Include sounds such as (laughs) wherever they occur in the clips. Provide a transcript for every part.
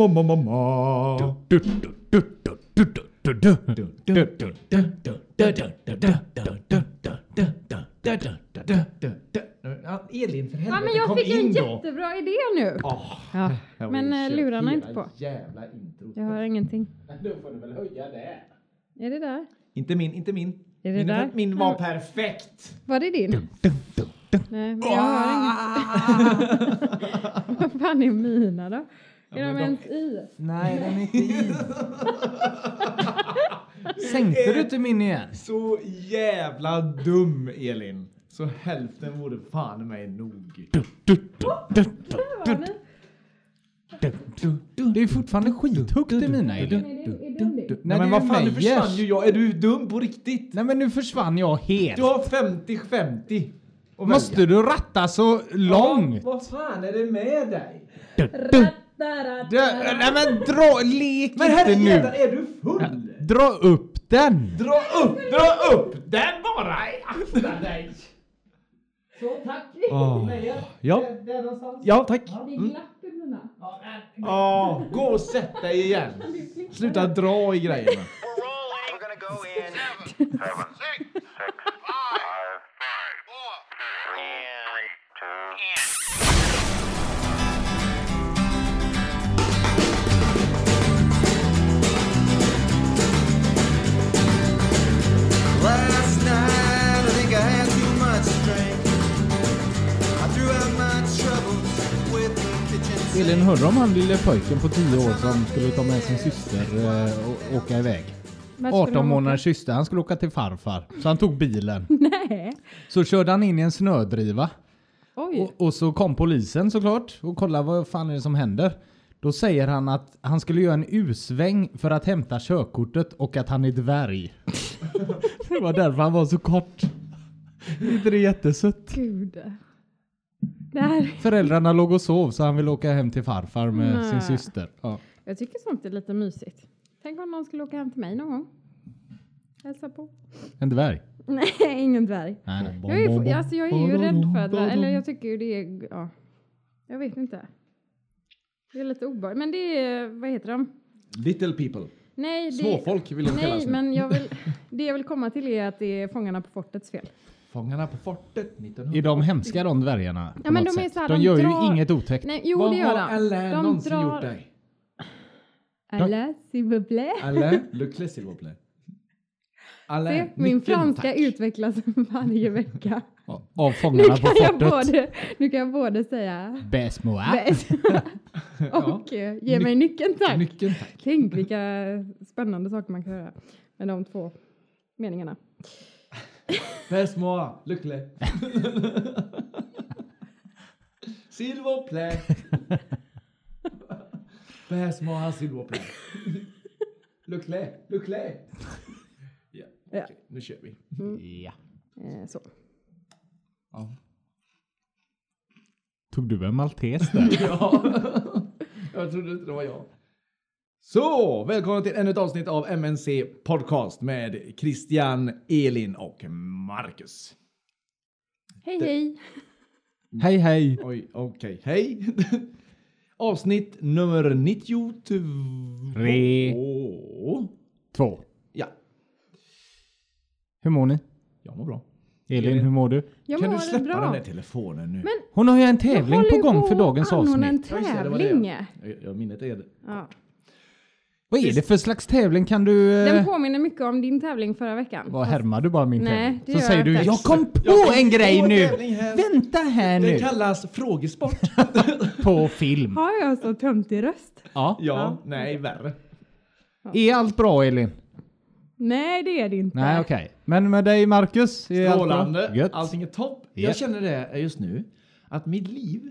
Mamma, mamma. Ja, Elin, för helvete, Ja, men jag kom fick en in då. jättebra idé nu. Åh, Ja, jag har men ju eh, kört lurarna är hela inte på. Jävla intro. Jag hör ingenting. Då får du väl höja det. Är det där? Inte min, inte min. Är det min, där? min var Ja. perfekt. Var det din? Nej, men jag Ah! hör ingenting. (laughs) Vad fan är mina då? Är men de de- ens i? Nej, den är (laughs) inte i. Sänkte Eh. du inte min igen? Så jävla dum, Elin. Så hälften vore fan mig nog. Där var ni. Det är fortfarande skithögt i mina Elin. Nej, det är- är den din? Nej, men det är vad fan, nu Meyers. försvann ju jag. Är du dum på riktigt? Nej men nu försvann jag helt. Du har 50-50. Och Måste du ratta så långt? Ja, vad fan är det med dig? Där, Du, nej men dra, lek Men inte herrejävlar, nu. är du full? Dra upp den. Dra upp, dra upp den bara! Akta dig! Så tack. Ah. Ja. ja, tack. Det är glapp i mina. Ja, gå och sätt dig igen. Sluta dra i grejerna. Rolling. We're gonna go in. Seven, seven, six, (laughs) six, five, five, five, four, three, three, two, and. Last night, I think I had too much to drink. I threw out my troubles with the kitchen sink. Elin, hörde om han lille pojken på 10 år som skulle ta med sin syster eh, och åka iväg? Vart skulle 18 de åka? månaders syster, han skulle åka till farfar. Så han tog bilen. (laughs) Nej. Så körde han in i en snödriva. Oj. Och, och så kom polisen såklart och kollade vad fan är det som händer. Då säger han att han skulle göra en U-sväng för att hämta körkortet och att han är dvärg. (laughs) det var därför han var så kort. Är inte det jättesött? Gud. Det här, Föräldrarna låg och sov så han ville åka hem till farfar med Nej. sin syster. Ja. jag tycker sånt är lite mysigt. Tänk om någon skulle åka hem till mig någon gång. Hälsa på. En dvärg. (laughs) Nej, ingen dvärg. Nej, nej. Jag är, ju- alltså jag är ju rädd för att, eller jag tycker ju det är, ja, jag vet inte. Det är lite obehagligt, men det är, vad heter de? Little people. Nej, det, Småfolk vill de kallas Nej, nu. men jag (laughs) vill, det jag vill komma till är att det är Fångarna på fortets fel. Fångarna på fortet 1900. Är de hemska de dvärgarna? på Ja, men något de är sätt? så här, de, de gör drar- ju inget otäckt. Nej, jo Vad det gör de. har Alain de någonsin gjort dig? Alla, s'il vous plaît. Alain, Lucle s'il vous plaît. Alain, Se, min nyckeln, franska tack. utvecklas (laughs) varje vecka. Av (laughs) Nu fångarna på kan, jag fortet. både, nu kan jag både säga Bäst må Äh? jag. (laughs) bäst och eh, ge mig nyckeln tack. Nyckeln, tack. Tänk vilka spännande saker man kan göra med de två meningarna. Pes moi, Lucle. s'il vous plaît. Pes moi, s'il vous plaît. Lucle, Lucle. Ja, Ja. okej, nu kör vi. (laughs) Ja. Eh, så. Ja. Tog du en maltes där? (laughs) Ja. Jag trodde inte det var jag. Så, välkomna till ännu ett avsnitt av MNC Podcast med Christian, Elin och Marcus. Hej hej! Hej hej! Oj, okej, hej. (laughs) Avsnitt nummer 92. Re. Två. Ja, Hur mår ni? jag mår bra. Elin, hur mår du? Jag kan mår du släppa bra. den där telefonen nu? Men Hon har ju en tävling håller på ju gång för att dagens anordna avsnitt. en Ja, just det, det var tävling. det. Jag- jag- Minnet är det. Ja. Vad är det för slags tävling? Kan du... eh, Den påminner mycket om din tävling förra veckan. Vad härmar du bara min Nej, tävling? det Så gör säger jag du inte. jag kom på Jag kom en grej på en nu! tävling här." Vänta här Det nu! kallas (laughs) frågesport. (laughs) På film. Har jag så töntig röst? Ja. ja, nej, värre. Är allt bra Elin? Nej det är det inte. Nej okej. Men med dig Marcus? Är Allt Strålande. bra? Gött. Allting är topp. Yep. Jag känner det just nu. Att mitt liv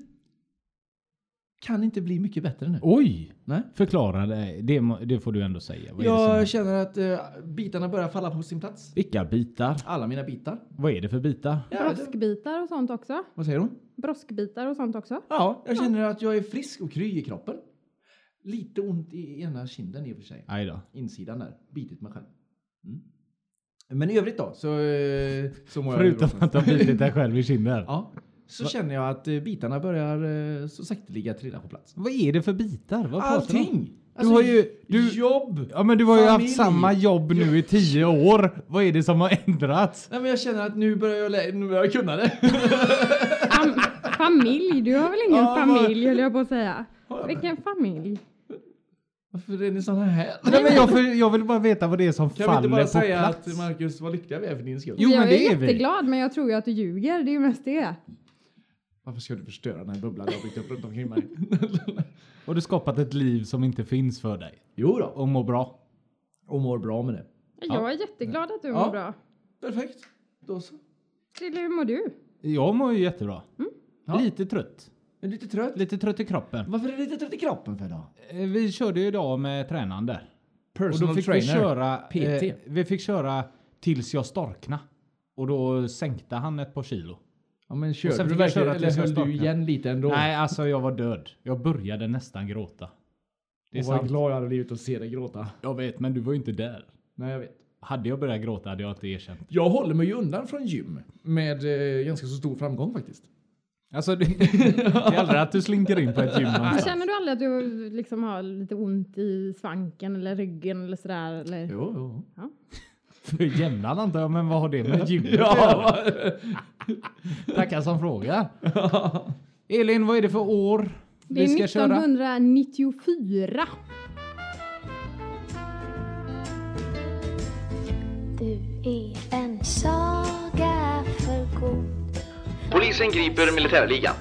kan inte bli mycket bättre nu. Oj! Nej. Förklara det. Det, må- det får du ändå säga. Vad är det som Jag händer? känner att eh, bitarna börjar falla på sin plats. Vilka bitar? Alla mina bitar. Vad är det för bitar? Ja, det- Broskbitar och sånt också. vad säger hon? Broskbitar och sånt också. Ja, jag känner att jag är frisk och kry i kroppen. Lite ont i ena kinden i och för sig. Aj då. Insidan där. Bitit mig själv. Mm. Men i övrigt då, så, eh, så mår jag hur Förutom bra som att du har helst. bitit dig själv i kinden. (laughs) Ja. så känner jag att eh, bitarna börjar eh, så sakteliga trilla på plats. Vad är det för bitar? Vad pratar du om? Allting! Du har ju- du- Jobb! Ja men du har ju Familj. haft samma jobb nu i tio år. Vad är det som har ändrats? Nej men jag känner att nu börjar jag, lä- nu börjar jag kunna det. (laughs) Fam familj? Du har väl ingen Ja, vad- familj höll jag på att säga. Har jag det? Vilken familj? Varför är ni såna här? (laughs) Nej men jag, för, jag vill bara veta vad det är som Kan vi faller inte bara på säga plats. att Marcus, vad lyckliga vi är för din skull? Jo, jag men är, det är vi. jätteglad men jag tror ju att du ljuger. Det är ju mest det. Varför ska du förstöra den här bubblan jag har byggt upp runt omkring (laughs) mig? Och du skapat ett liv som inte finns för dig. jo då, Och mår bra. och mår bra med det. Jag är jätteglad att du Ja. mår bra. Perfekt, då så. Krille, hur mår du? Jag mår ju jättebra. Mm. Ja. Lite trött. Är du lite trött? Lite trött i kroppen. Varför är du lite trött i kroppen för då? Eh, Vi körde ju idag med tränande. Och Personal då fick vi köra... PT. Eh, vi fick köra tills jag storkna. Och då sänkte han ett par kilo. Ja men körde sen du fick jag verkligen, köra eller tills jag höll du startade. igen lite ändå? Nej, alltså jag var död. Jag började nästan gråta. Det är och vad sant. glad jag hade blivit att se dig gråta. Jag vet, men du var ju inte där. Nej jag vet. Hade jag börjat gråta hade jag inte erkänt. Jag håller mig ju undan från gym med eh, ganska så stor framgång faktiskt. Alltså, det, (laughs) det är aldrig att du slinker in på ett gym alltså. någonstans. Känner du aldrig att du liksom har lite ont i svanken eller ryggen eller sådär? Eller? Jo, jo. För jämnan antar jag, men vad har det med gymmet att göra? Ja, Tackar som (laughs) frågar. Elin, vad är det för år Det är vi ska köra? 1994. Du är en saga för god Polisen griper militärligan.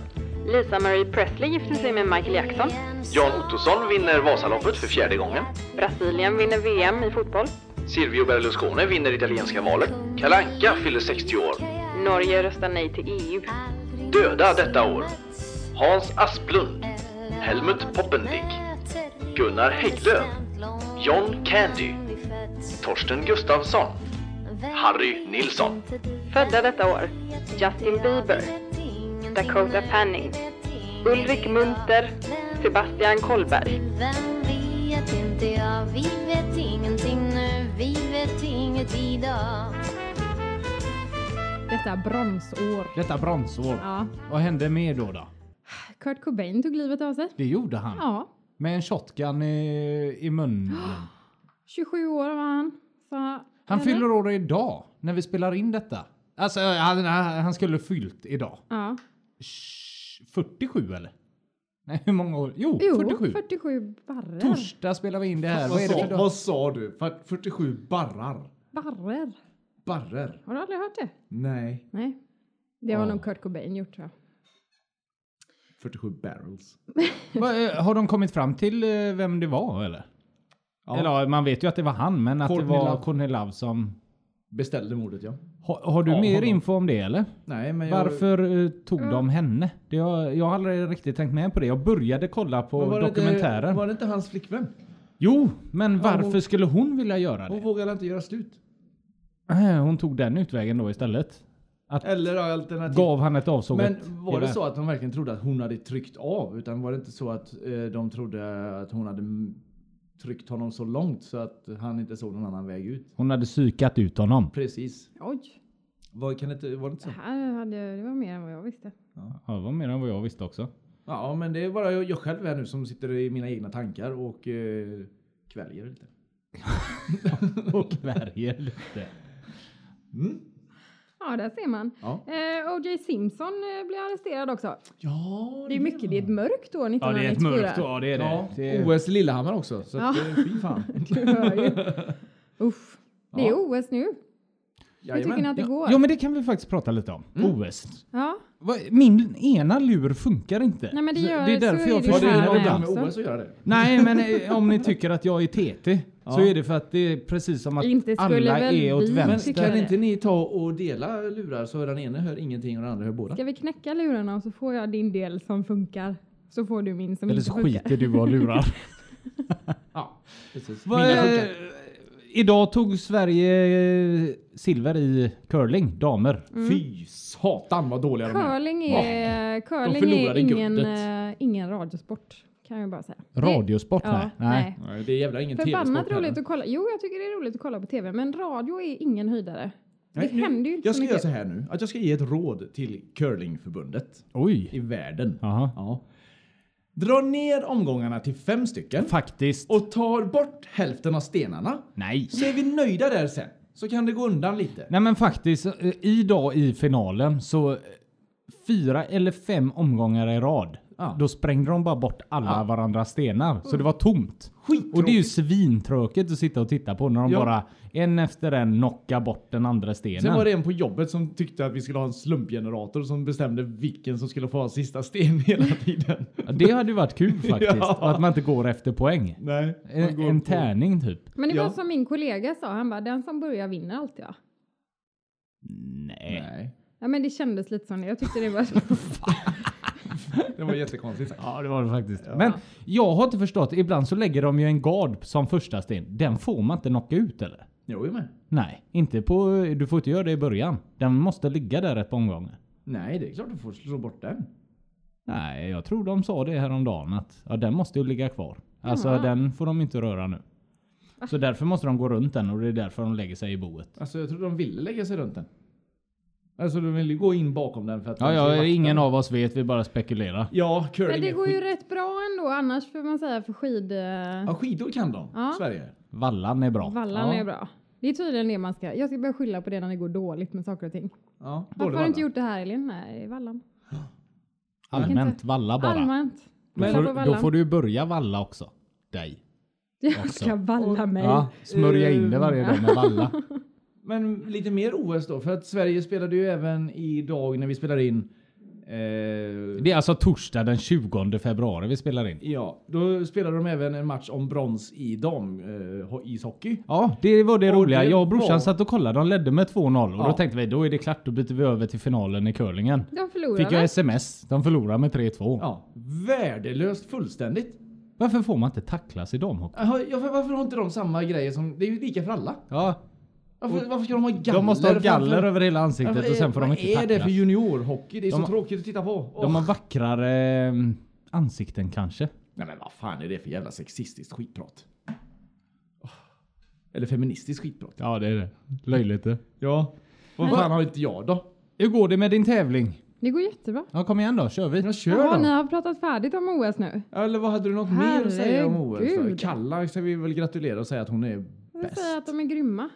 Lisa Marie Presley gifter sig med Michael Jackson. Jan Ottosson vinner Vasaloppet för fjärde gången. Brasilien vinner VM i fotboll. Silvio Berlusconi vinner italienska valet. Kalle Anka fyller 60 år. Norge röstar nej till EU. Döda detta år. Hans Asplund. Helmut Poppendick. Gunnar Hägglöf. John Candy. Torsten Gustafsson. Harry Nilsson. Födda detta år. Justin Bieber. Dakota Fanning. Ulrik Munter. Sebastian Kollberg. Vem vet inte jag? Vi vet ingenting nu, vi vet inget idag Detta är bronsår. Detta bronsår. Ja. Vad hände med då då? Kurt Cobain tog livet av sig. Det gjorde han. Ja. Med en shotgun i, i munnen. 27 år var han. Så, Han eller? fyller år idag, när vi spelar in detta. Alltså, han, han han skulle fyllt idag. Ja. Sh- 47 eller? Nej, hur många år? Jo, Jo, 47. 47, 47 barrer. Torsdag spelar vi in det här. vad, Vad är det för sa, dag? vad sa du? För- 47 barrar? Barrer. Barrer? Har du aldrig hört det? Nej. Nej. Det har Ja. nog Kurt Cobain gjort tror jag. 47 barrels. (laughs) Vad, eh, Har de kommit fram till eh, vem det var eller? Ja. Eller ja, man vet ju att det var han, men att Courtney det var Love. Courtney Love som... Beställde mordet ja. Har, har du Ja, mer honom. info om det eller? Nej men jag... Varför eh, tog de henne? Det, har- jag har aldrig riktigt tänkt med på det. Jag började kolla på Men var det inte- dokumentären. var det inte hans flickvän? Jo, men varför hon- skulle hon vilja göra Hon det? vågade inte göra slut. Eh, Hon tog den utvägen då istället. Att Eller alternativt... gav han ett avsågat Men var det gevär. så att de verkligen trodde att hon hade tryckt av? Utan var det inte så att eh, de trodde att hon hade m- tryckt honom så långt så att han inte såg någon annan väg ut? Hon hade psykat ut honom. Precis. Oj, Var, kan det, inte- var det inte det så? här hade, det var mer än vad jag visste. Ja, det var mer än vad jag visste också. (laughs) Ja, men det är bara jag, jag själv här nu som sitter i mina egna tankar och eh, kväljer lite. Och värjer lite. Ja, där ser man. Ja. Eh, O.J. Simpson eh, blev arresterad också. Ja, Det är mycket, det är ett mörkt år 1994. Ja, det är ett mörkt år, det är det. Ja, det är... OS i Lillehammer också. Så att, Ja. eh, fy fan. (laughs) Du hör ju. (laughs) Usch. Det är Ja. OS nu. Hur tycker ni Jajamän. att det går? Jo, men det kan vi faktiskt prata lite om. OS. Ja, Vad- Min ena lur funkar inte. Nej, men det gör- det är därför så jag är det Har det här försvinner med. något ibland. med OS att göra det? Nej, men eh, om ni tycker att jag är TT så Ja. är det för att det är precis som att Inte skulle alla väl är åt vi Men vänster. tycka kan det. inte ni ta och dela lurar så den ene hör ingenting och den andra hör båda? ska vi knäcka lurarna och så får jag din del som funkar. Så får du min som Eller inte så funkar. skiter du och lurar. Ja, precis. Vad, Mina eh, funkar. idag tog Sverige eh, silver i curling, damer. Mm. Fy satan vad dåliga de är. Curling är, curling är förlorade ingen, guldet. eh, ingen radiosport. Kan jag bara säga. Det- Radiosport? Ja, nej. nej. Nej, det är jävla ingen Förbannat TV-sport roligt att kolla. Jo, jag tycker det är roligt att kolla på tv, men radio är ingen höjdare. Nej, Det händer ju inte Jag så ska göra mycket. så här nu, att jag ska ge ett råd till curlingförbundet i Oj. världen. Jaha. Ja. Dra ner omgångarna till fem stycken Faktiskt. och tar bort hälften av stenarna. Nej. Så är vi nöjda där sen. Så kan det gå undan lite. Nej men faktiskt, eh, idag i finalen så eh, fyra eller fem omgångar i rad. Ja. Mm. Då sprängde de bara bort alla varandras stenar. Så det var tomt. Skittråkigt. Och det är ju svintråkigt att sitta och titta på när de Ja. bara en efter en knockar bort den andra stenen. Sen var det en på jobbet som tyckte att vi skulle ha en slumpgenerator som bestämde vilken som skulle få ha sista sten (laughs) hela tiden. Ja, det hade ju (laughs) varit kul faktiskt. Ja. Och att man inte går efter poäng. Nej. man En, går en på- tärning typ. Men det Ja. var som min kollega sa, han bara den som börjar vinner alltid va? Nej. Nej. Ja men det kändes lite som det. Jag tyckte (laughs) det var... Det var jättekonstigt sagt. Ja det var det faktiskt. Men jag har inte förstått. Ibland så lägger de ju en gard som första sten. Den får man inte knocka ut eller? Jo, jag med. Nej, inte på... Du får inte göra det i början. Den måste ligga där ett par omgångar. Nej, det är klart du får slå bort den. Nej, jag tror de sa det häromdagen att ja, den måste ju ligga kvar. Alltså Jaha. den får de inte röra nu. Ah. Så därför måste de gå runt den och det är därför de lägger sig i boet. Alltså, jag tror de ville lägga sig runt den. Alltså, de ville ju gå in bakom den för att... Ja, de skulle ja vakta ingen den. av oss vet, vi bara spekulerar. Ja, curling Men det är går ju skit. rätt bra ändå annars får man säga för skid... Ja, skidor kan de. Ja. Sverige. Vallan är bra. Ja. Vallan är bra. Det är tydligen det man ska... Jag ska börja skylla på det när det går dåligt med saker och ting. Ja, Varför dålig har du inte valla. gjort det här Elin? Nej, Vallan. Allmänt inte. valla bara. Allmänt. Då, Skylla på får, då vallan. får du börja valla också. Dig. Jag ska valla mig. Ja, smörja in det varje dag med valla. Men lite mer OS då, för att Sverige spelade ju även idag när vi spelar in. Eh, Det är alltså torsdag den 20 februari vi spelar in. Ja, då spelade de även en match om brons i dam eh, ho- ishockey. Ja, det var det Och roliga. det jag och brorsan var- satt och kollade. De ledde med 2-0 och Ja. då tänkte vi då är det klart. Då byter vi över till finalen i curlingen. De förlorar Fick jag väl? sms. De förlorar med 3-2. Ja, värdelöst fullständigt. Varför får man inte tacklas i damhockey? Jaha, Ja, för varför har inte de samma grejer som... Det är ju lika för alla. Ja, Varför, varför ska de ha galler? de måste ha galler framför- över hela ansiktet Varför och sen får de vad inte är tacklas. det för juniorhockey? Det är De så har- tråkigt att titta på. Åh. De har vackrare eh, ansikten kanske. Nej men vad fan är det för jävla sexistiskt skitprat? Åh. Eller feministiskt skitprat. Ja, det är det. Löjligt det. Ja. Vad fan har inte jag då? Hur går det med din tävling? Det går jättebra. Ja, kom igen då. Kör vi. Jag kör Jaha, ni då. har pratat färdigt om OS nu? Eller vad hade du något mer att säga om OS då? Herregud. Kalla ska vi väl gratulera och säga att hon är Jag vill bäst. säga att de är grymma.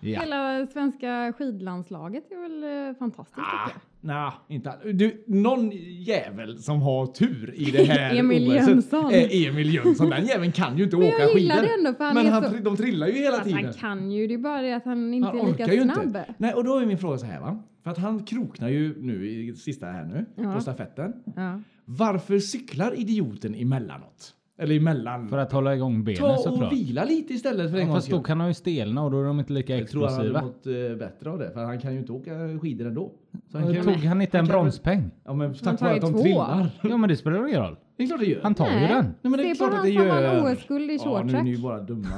Ja. Hela svenska skidlandslaget är väl eh, fantastiskt Ah, tycker jag. nah, inte all- du, någon jävel som har tur i det här (laughs) Emil OS Jönsson. Är Eh, Emil Jönsson. Den jäveln kan ju inte Men åka jag gillar skidor. det ändå för han men är han, så- tri- de trillar ju hela Fast tiden. han kan ju, det är bara det att han inte Han är lika orkar ju snabb. inte. Nej, och då är min fråga så här va. För att han kroknar ju nu i sista här nu Ja. på stafetten. Ja. Varför cyklar idioten emellanåt? Eller emellan? För att hålla igång benen Ta såklart. och vila lite istället för en Ja, gångs fast då skull. kan de ju stelna och då är de inte lika Jag tror han hade explosiva. mått eh, bättre av det, för han kan ju inte åka skidor ändå. Så han Då kan, Tog han inte en kan väl- bronspeng? ja, men Han tack tar vare ju att de två. trillar. Ja men det spelar ingen roll. Det är klart det gör. Han tar ju Nej. den. Nej, men det är Se på klart att han det som vann gör. OS-guld i Ja, nu är ni ju shorttrack. bara dumma.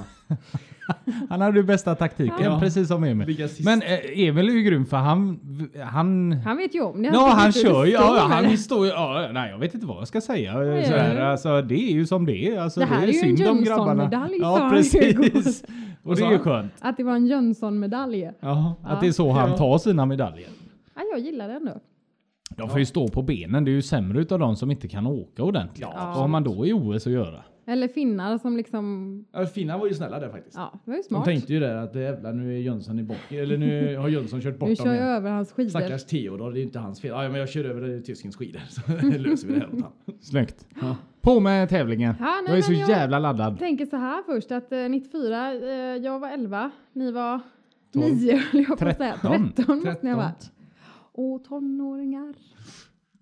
Han hade ju bästa taktiken, Ja. precis som Emil. Ligga sist. (laughs) Men eh, Emil är ju grym för han... Han... Han vet ju om det. Ja tycker han inte det kör ju, står ja, med det. han står ju, ja, nej jag vet inte vad jag ska säga. Nej. Sådär, alltså, det är ju som det är. Alltså, Det här det är ju en synd om grabbarna. Jönsson-medalj, sa Ja han precis. igår. Och det är ju skönt. Att det var en Jönsson-medalj. Jaha. Att det är så han tar sina medaljer. Ja, jag gillar den då. De får ju stå på benen, det är ju sämre utav de som inte kan åka ordentligt. Ja, Vad har man då i OS att göra? Eller finnar som liksom... Ja, Finnar var ju snälla där faktiskt. Ja, det var ju De smart. tänkte ju där att jävlar nu är Jönsson i bort, eller nu har Jönsson kört bort Nu dem kör jag igen. över hans skidor. Stackars Theodor, det är ju inte hans fel. Ja, men jag kör över tyskens skidor så (laughs) löser vi det här åt honom. Snyggt. På med tävlingen. Ja, nej, jag är så men jag- jävla laddad. tänker så här först att eh, 94, eh, jag var 11, ni var 9 höll jag på att säga. 13. 13, måste ni ha varit. Och tonåringar.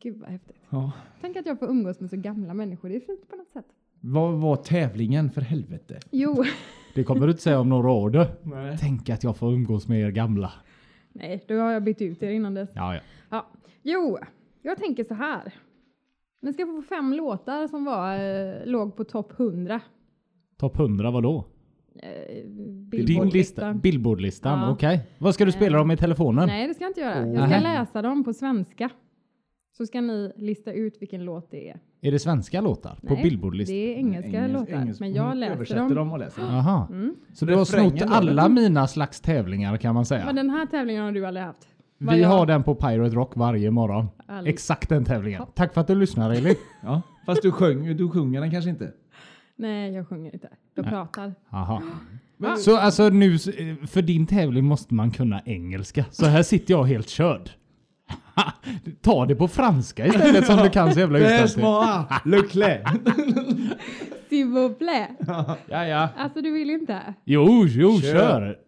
Gud vad häftigt. Ja. Tänk att jag får umgås med så gamla människor, det är fint på något sätt. Vad var tävlingen för helvete? Jo, (laughs) Det kommer du inte säga om några år du. Nej. Tänk att jag får umgås med er gamla. nej då har jag bytt ut er innan dess. Ja, ja. Ja. Jo, jag tänker så här. Ni ska få fem låtar som var, eh, låg på topp 100. Topp 100 vadå? Eh, Din lista? Billboard-listan. Billboardlistan, Ja. Eh, okej. Vad ska du spela dem i telefonen? Nej, det ska jag inte göra. Jag Mm. Oh. ska Nähä. läsa dem på svenska. Så ska ni lista ut vilken låt det är. Är det svenska låtar på Mm, Nej, Billboardlistan? Det är engelska Engels- låtar, engelsk- men hon jag Mm, läser översätter dem. dem och läser dem. Aha. Mm. Så du har Refrängen snott då, eller? alla mina slags tävlingar kan man Men säga. den här tävlingen har du aldrig haft. Vad Vi jag- har den på Pirate Rock varje morgon. Aldrig. Exakt den tävlingen. Tack för att du lyssnar Eli. Ja, fast du sjöng ju- du sjunger den kanske inte. Nej, jag sjunger inte. Jag pratar. Aha. Så alltså nu, s- eh, för din tävling måste man kunna engelska. Så här sitter jag helt körd. (laughs) Ta det på franska istället som du kan så jävla utantill. Desmoa (laughs) Leclerc. S'il vous plaît. Ja, ja. Alltså du vill inte? Jo, jo, Kör. kör.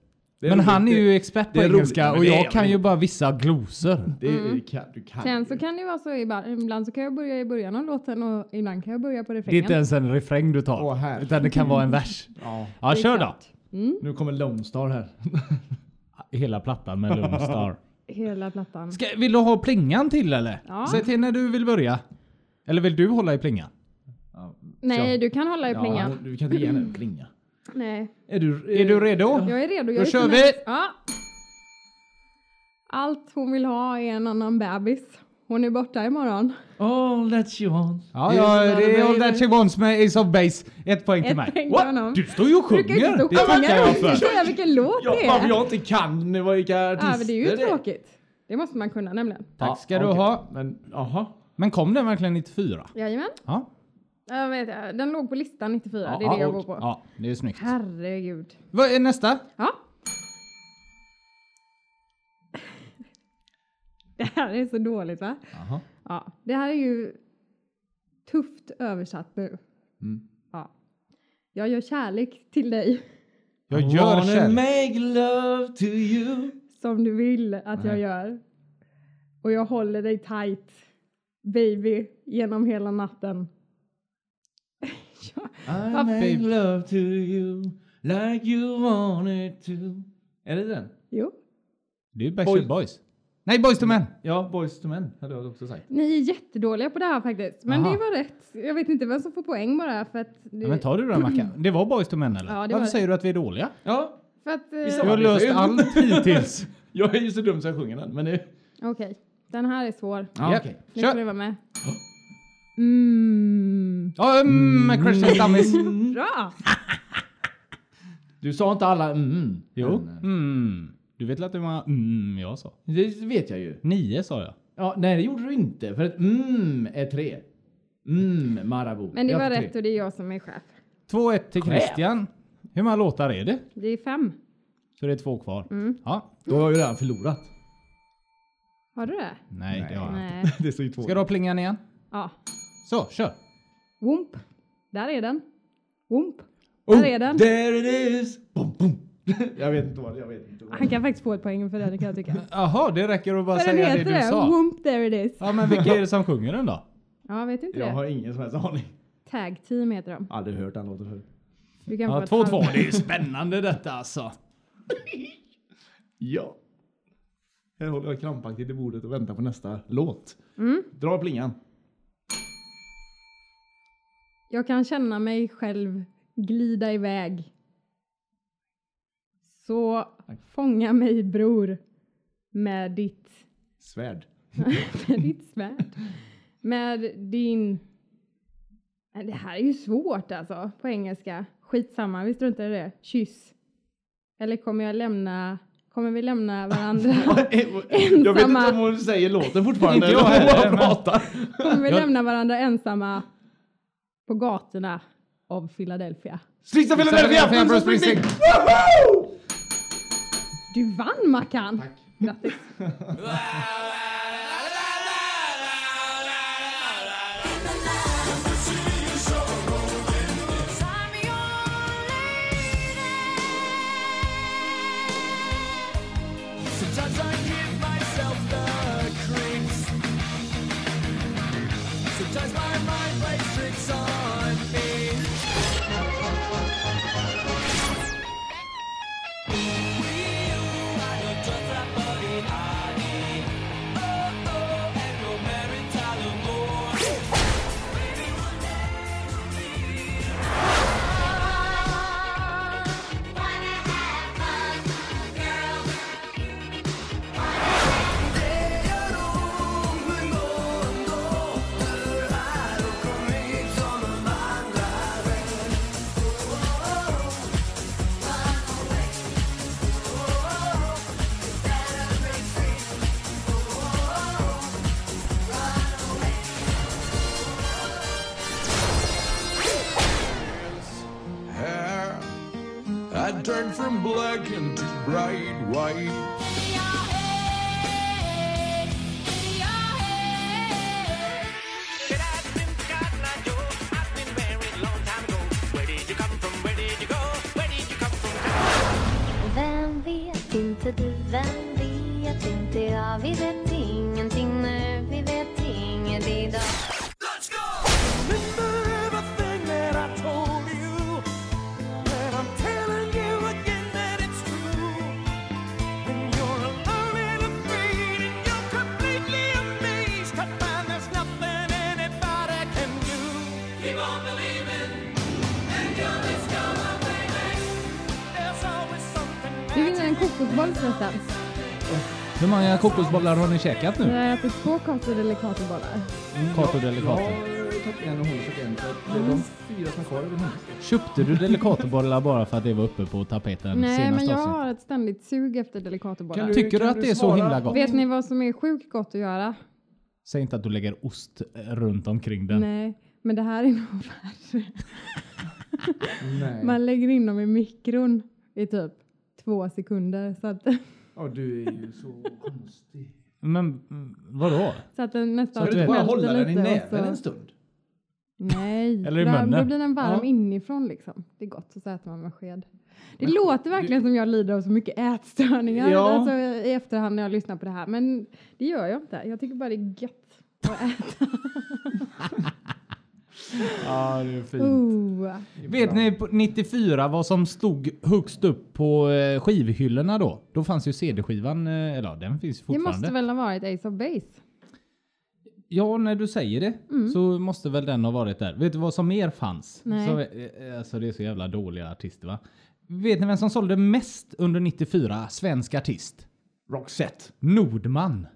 Det är Men roligt. han är ju expert på det är roligt. engelska Men och det är jag kan ju roligt. bara vissa glosor. Det, det Mm. är- kan, du kan Sen ju. så kan det vara så ibland, ibland så kan jag börja i början av låten och ibland kan jag börja på Det är inte refrängen. ens en refräng du tar, Åh, här. utan det kan vara en vers. Ja, Ja, är kör då. klart. nu kommer Lone Star här. (laughs) Hela plattan (laughs) med Lone Star. Hela plattan. Ska, vill du ha plingan till eller? Ja. Säg till när du vill börja. Eller vill du hålla i plingan? Nej, du kan hålla i Ja, plingan. hon- du kan inte ge henne en plinga. Nej, Är du, Är du redo? jag är redo. Jag Då är kör så vi! nervös. Ja. Allt hon vill ha är en annan bebis. Hon är borta imorgon. All that you want. Ja, ja, Isn't det är All baby? That She Wants med Ace of Base. Ett poäng till Ett mig. poäng till What? honom. Du står ju och Brukar inte sjunger! stå och Det sjunga. tackar jag Nu för. förstår jag vilken låt Ja, det varför är. jag inte kan nu vad vilka artister Ja, men det är ju tråkigt. Det måste man kunna nämligen. Tack ska Ja, du okej. ha. Men jaha. Men kom den verkligen 94? Jajamän. Ja. Jag vet, eh, den låg på listan 94. ja det är det jag går på. Ja, det är snyggt. Herregud. Vad är nästa? Ja. (laughs) Det här är så dåligt va? Jaha. Ja, det här är ju tufft översatt nu. Mm. Ja. Jag gör kärlek till dig (laughs) Jag I gör wanna själv. make love to you. som du vill att jag gör. Och jag håller dig tight, baby, genom hela natten. (laughs) ja. I Varför? make love to you like you wanted to. Är det den? Jo. Det är ju Backstreet Boys. Nej, Boys to Men! Ja, Boys to Men hade jag också sagt. Ni är jättedåliga på det här faktiskt. Men Aha. det var rätt. Jag vet inte vem som får poäng bara för att... Det, Ja, men tar du den Mackan? Det var Boys to Men eller? Ja, det var Varför det. säger du att vi är dåliga? Ja, för att... eh, Visst Vi Ja, har det löst är ju- allt hittills. jag är ju så dum så jag sjunger den. Men det... Okej. Den här är svår. Ja, Ja. okej. Nu får ni Kör! vara (gasps) med. Mm. Ja, mm, Christian Stammis. Bra! Du sa inte alla mm. Jo. Men, eh, Mm. Du vet väl att det var mm jag sa? Det vet jag ju. Nio sa jag. Ja, nej, det gjorde du inte. För att mm är tre. Mm, Marabou. Men det Jag var fick rätt tre. och det är jag som är chef. 2-1 till Chef. Christian. Hur många låtar är det? Det är fem. Så det är två kvar. Mm. Ja. Då har jag ju redan förlorat. Har du det? Nej, det har jag inte. Nej. Det står ju två. Ska du ha plingan igen? Ja. Så, kör! Womp. Där är den. Womp. Oh, Där är den. Oh, There it is! Bom, bom. (laughs) jag vet inte vad jag vet inte vad. Han kan faktiskt få ett poäng för den kan jag tycka. Jaha, det räcker att bara För den säga Alltså, det heter du det. sa. Womp there it is. Ja, men vilka är det som sjunger den då? Ja, vet inte Jag det. har ingen som helst aning. Tag team heter de. Aldrig hört den låten förut. Du kan få Ja, ett 2-2. halvt. Det är ju spännande detta alltså. Ja. Här håller jag krampaktigt i bordet och väntar på nästa låt. Mm. Dra plingan. Jag kan känna mig själv glida iväg. Så fånga mig bror med ditt, (laughs) Svärd. med ditt svärd. Med din... Men Det här är ju svårt alltså på engelska. Skitsamma, vi struntar i det. Kyss. Eller kommer jag lämna... Kommer vi lämna varandra? (laughs) jag vet inte om hon säger låten fortfarande. (laughs) Inte jag eller om hon bara heller, men- pratar. Kommer vi Jag- lämna varandra ensamma på gatorna av Philadelphia? Streets of Philadelphia! Philadelphia, Bruce Bruce Springsteen! Woho! Du vann Mackan! Grattis! Sometimes I give myself the creeps. Sometimes my mind plays tricks on me. I turned from black into bright white. Vem vet inte du, vem vet inte jag Vi vet ingenting nu, vi vet inget idag Du vinner en kokosboll förresten. Hur många kokosbollar har ni käkat Jag nu? har ätit två kakor eller kakorbollar. Mm. Kato Delicato. Jag tog en och hon tog en. Så att det är de fyra som är kvar är väl hennes. Köpte du Delicatobollar bara för att det var uppe på tapeten Nej, senast men jag avsnitt? har ett ständigt sug efter delikatobollar. Tycker du att det är så svara himla på- gott? Vet ni vad som är sjukt gott att göra? Säg inte att du lägger ost eh, runt omkring den. Nej, men det här är (laughs) nog värre. Nej. Man lägger in dem i mikron i typ två sekunder så att, Ja, du är ju så (laughs) konstig. Men mm, vadå? så att den Så nästan att Kan du inte bara hålla den i och näven så- en stund? Nej, (laughs) Eller i då- då munnen. blir den varm Ja. inifrån liksom. Det är gott, så äter man med sked. Det låter verkligen som jag lider av så mycket ätstörningar Ja. alltså, i efterhand när jag lyssnar på det här. Men det gör jag inte. Jag tycker bara det är gött att äta. Ja, det är fint. oh. Vet ni på 94 vad som stod högst upp på eh, skivhyllorna då? Då fanns ju CD-skivan, eh, eller ja, den finns ju Det fortfarande. måste väl ha varit Ace of Base? Ja, när du säger det så måste väl den ha varit där. Vet du vad som mer fanns? Mm. Nej. Som, eh, alltså det är så jävla dåliga artister va? Vet ni vem som sålde mest under 94? Svensk artist. Roxette. Nordman.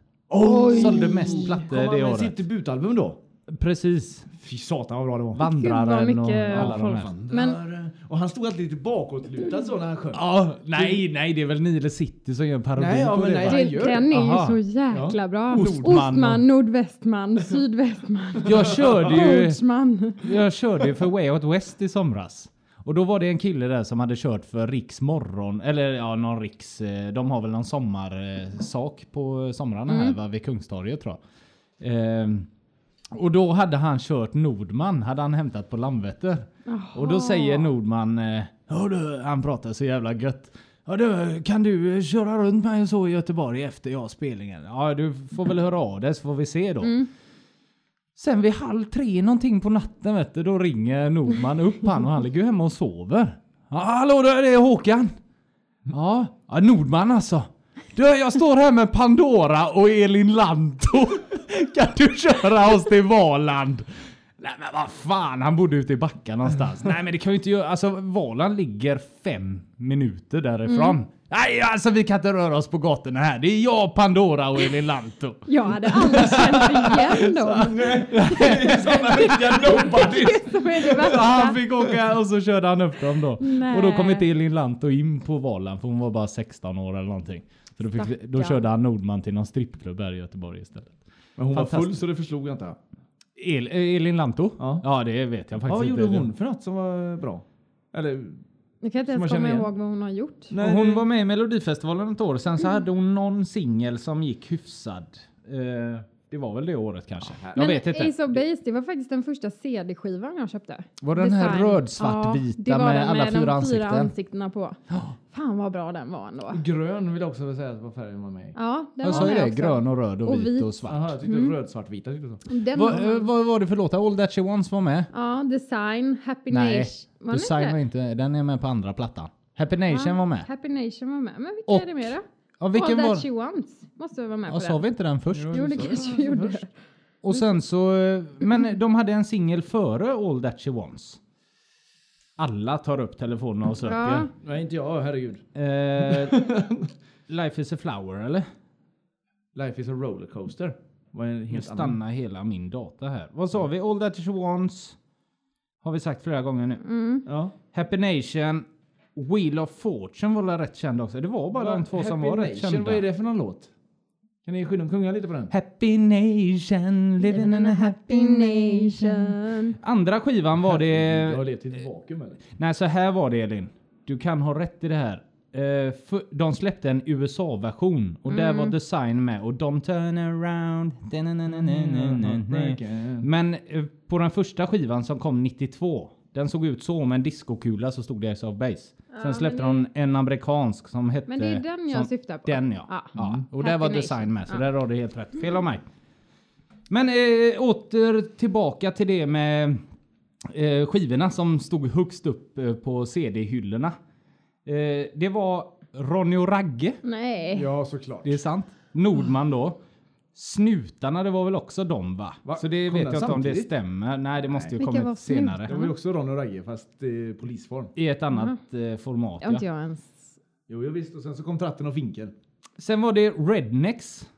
Sålde mest plattor Kom han det med året. sitt debutalbum då? Precis. Fy satan vad bra det var. Gud, Vandraren vad och mycket alla de folk. här. Vandrare. Och han stod alltid lite bakåtlutad så när han sjöng. Ja, nej, nej, det är väl Nile City som gör en parodi Nej, ja, på men det nej, va? det- Den, han gör den är Aha. ju så jäkla bra. Ostman och- Ostman, (laughs) nordvästman, sydvästman, Jag körde ju... nordsman. jag körde ju för Way Out West i somras. Och då var det en kille där som hade kört för Riks morgon, eller ja, någon Riks. eh, De har väl någon sommarsak på somrarna här va, vid Kungstorget tror jag. Ehm, och då hade han kört Nordman, hade han hämtat på Landvetter. Och då säger Nordman, eh, "Hördu," han pratar så jävla gött. Ja du, kan du eh, köra runt mig och så i Göteborg efter jag har spelningen? Ja, du får väl höra av dig så får vi se då. Sen vid halv tre någonting på natten vet du, då ringer Nordman upp han och han ligger ju hemma och sover. Ja, hallå där det är Håkan. Ja, ja Nordman alltså. Du, jag står här med Pandora och Elin Lanto. (laughs) Kan du köra oss till Valand? Nej men vad fan, han bodde ute i Backa någonstans. Nej men det kan vi inte göra. Alltså Valand ligger fem minuter därifrån. Nej alltså vi kan inte röra oss på gatorna här. Det är jag, Pandora och Elin Lanto. Jag hade aldrig känt (laughs) igen dem. (laughs) Sådana riktiga nobodies. Som är (laughs) det Så värsta. han fick åka och så körde han upp dem då. Nej. Och då kom inte Elin Lanto in på Valand för hon var bara 16 år eller någonting. Så då, fick, då Stackarn. körde han Nordman till någon strippklubb här i Göteborg istället. Men hon var full Fantastiskt. så det förslog jag inte. El, eh, Elin Lanto? Ja. Ja. det vet jag faktiskt Vad inte. gjorde hon för något som var bra? Eller? Jag kan inte man ens känner komma igen. ihåg vad hon har gjort. Nej, hon det- var med i Melodifestivalen ett år, sen så hade hon någon singel som gick hyfsad. Eh, det var väl det året kanske. jag vet inte. Ace of Base, det var faktiskt den första CD-skivan jag köpte. Var den här Design. röd-svart-vita det var med den alla de fyra fyra ansikten? ansiktena på. Fan vad bra den var ändå. Grön vill jag också säga att var färgen var med i. Ja, den jag var sa ju med det, också. grön och röd och, Och vit vit. och svart. Jaha, jag tyckte Mm. röd, svart, vita. tyckte jag så. Den Vad, var, eh, vad var det för låt? All That She Wants var med? ja, Design, Happy Nej, Nation. Var den Design inte? var inte, den är med på andra plattan. Happy Nation var med. Happy Nation var med. Men vilka Och- är det mer då? Ja, All vilken That var? She Wants måste vara med Ja, på sa den. vi inte den först? Jo, det kanske vi gjorde. Och sen så, eh, men de hade en singel före All That She Wants. Alla tar upp telefonerna och Ja. söker. Nej, inte jag. Herregud. Eh, Life is a flower eller? Life is a rollercoaster. Var en Nu helt annan. stannar hela min data här. Vad sa vi? All That She Wants. Har vi sagt flera gånger nu. Ja. Happy Nation. Wheel of Fortune var väl rätt känd också? Det var bara de två som Happy var rätt Nation, kända. Vad är det för någon låt? Kan ni skynda kunga lite på den? Happy Nation, living in a happy nation. Andra skivan var Jag har det... Eh. levt i ett vakuum eller? Nej, så här var det Elin. du kan ha rätt i det här. Eh, för, de släppte en USA-version och där var Mm. Design med och de turn around. da-na-na-na-na-na-na. Men eh, på den första skivan som kom 92, den såg ut så med en discokula så stod det Ace of Base. Ja, Sen släppte men de en amerikansk som hette... Men det är den jag som- syftar på. Den ja. Ja. ja. Mm. Och där var Happy design Nation. med, så Ja. där har du helt rätt. Fel av mig. Men eh, åter tillbaka till det med eh, skivorna som stod högst upp eh, på CD-hyllorna. Eh, det var Ronny och Ragge, Nej. Eh. Ja, såklart. det är sant. Nordman då. Snutarna, det var väl också de va? Va? Så det Kom vet den jag inte om det samtidigt? stämmer. Nej, det måste ju Vilka var kommit Snutarna? senare. Det var ju också Ron och Ragge fast eh, polisform. I ett annat eh, format. Det har inte Ja. jag ens. Jo, jag visst. Och sen så kom Tratten och Finkel. Sen var det Rednecks.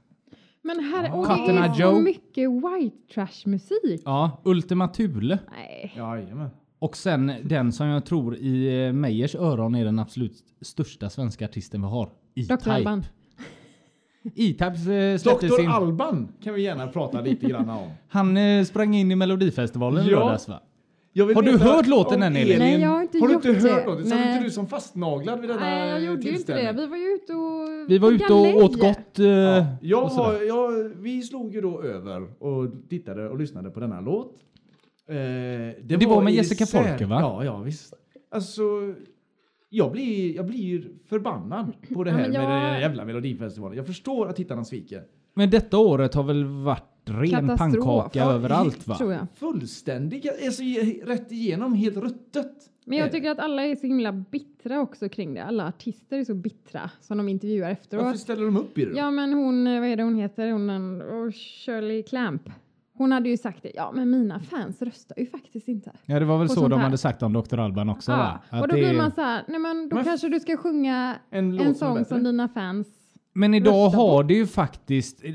Men här, och det Katterna är så Joe. mycket white trash musik. Ja, Ultima Thule. Nej. Jajamän. Och sen den som jag tror i eh, Meijers öron är den absolut största svenska artisten vi har. Dr. E-Type. Alban. E-Type eh, släppte Doktor sin... Alban kan vi gärna prata lite grann om. Han eh, sprang in i Melodifestivalen i Ja. lördags va? (laughs) Jag vill Har du veta hört låten om än, Elin? Nej, jag har inte Har du gjort inte det. hört något? Sen är Nej. inte du som fastnaglad vid denna Nej, jag gjorde ju inte det. Eh, tillställning. Vi var ju ute och... Vi var på ute och galej. åt gott. eh, Ja, jag och sådär. har, jag, vi slog ju då över och tittade och lyssnade på denna låt. Eh, det, Det var med i Jessica sär- Folke, va? Ja, ja visst. Alltså, jag blir, jag blir förbannad på det Ja, här men jag- med den här jävla melodifestivalen. Jag förstår att tittarna sviker. Men detta året har väl varit ren Katastrof. pannkaka Ja, överallt va? Tror jag. Fullständigt, alltså i- rätt igenom, helt ruttet. Men är jag det. tycker att alla är så himla bittra också kring det. Alla artister är så bittra som de intervjuar Varför efteråt. ställer de upp i det då? Ja, men hon, eh, vad är det hon heter? Hon, den- oh, Shirley Clamp. Hon hade ju sagt det. Ja, men mina fans röstar ju faktiskt inte. Ja det var väl Och så sånt de här. hade sagt om Dr. Alban också va? Ja, Att och då det blir är- man så här, nej men då Men f- kanske du ska sjunga En en, låt som är sång bättre. som, dina fans... Men idag Rösta på. har det ju faktiskt... eh,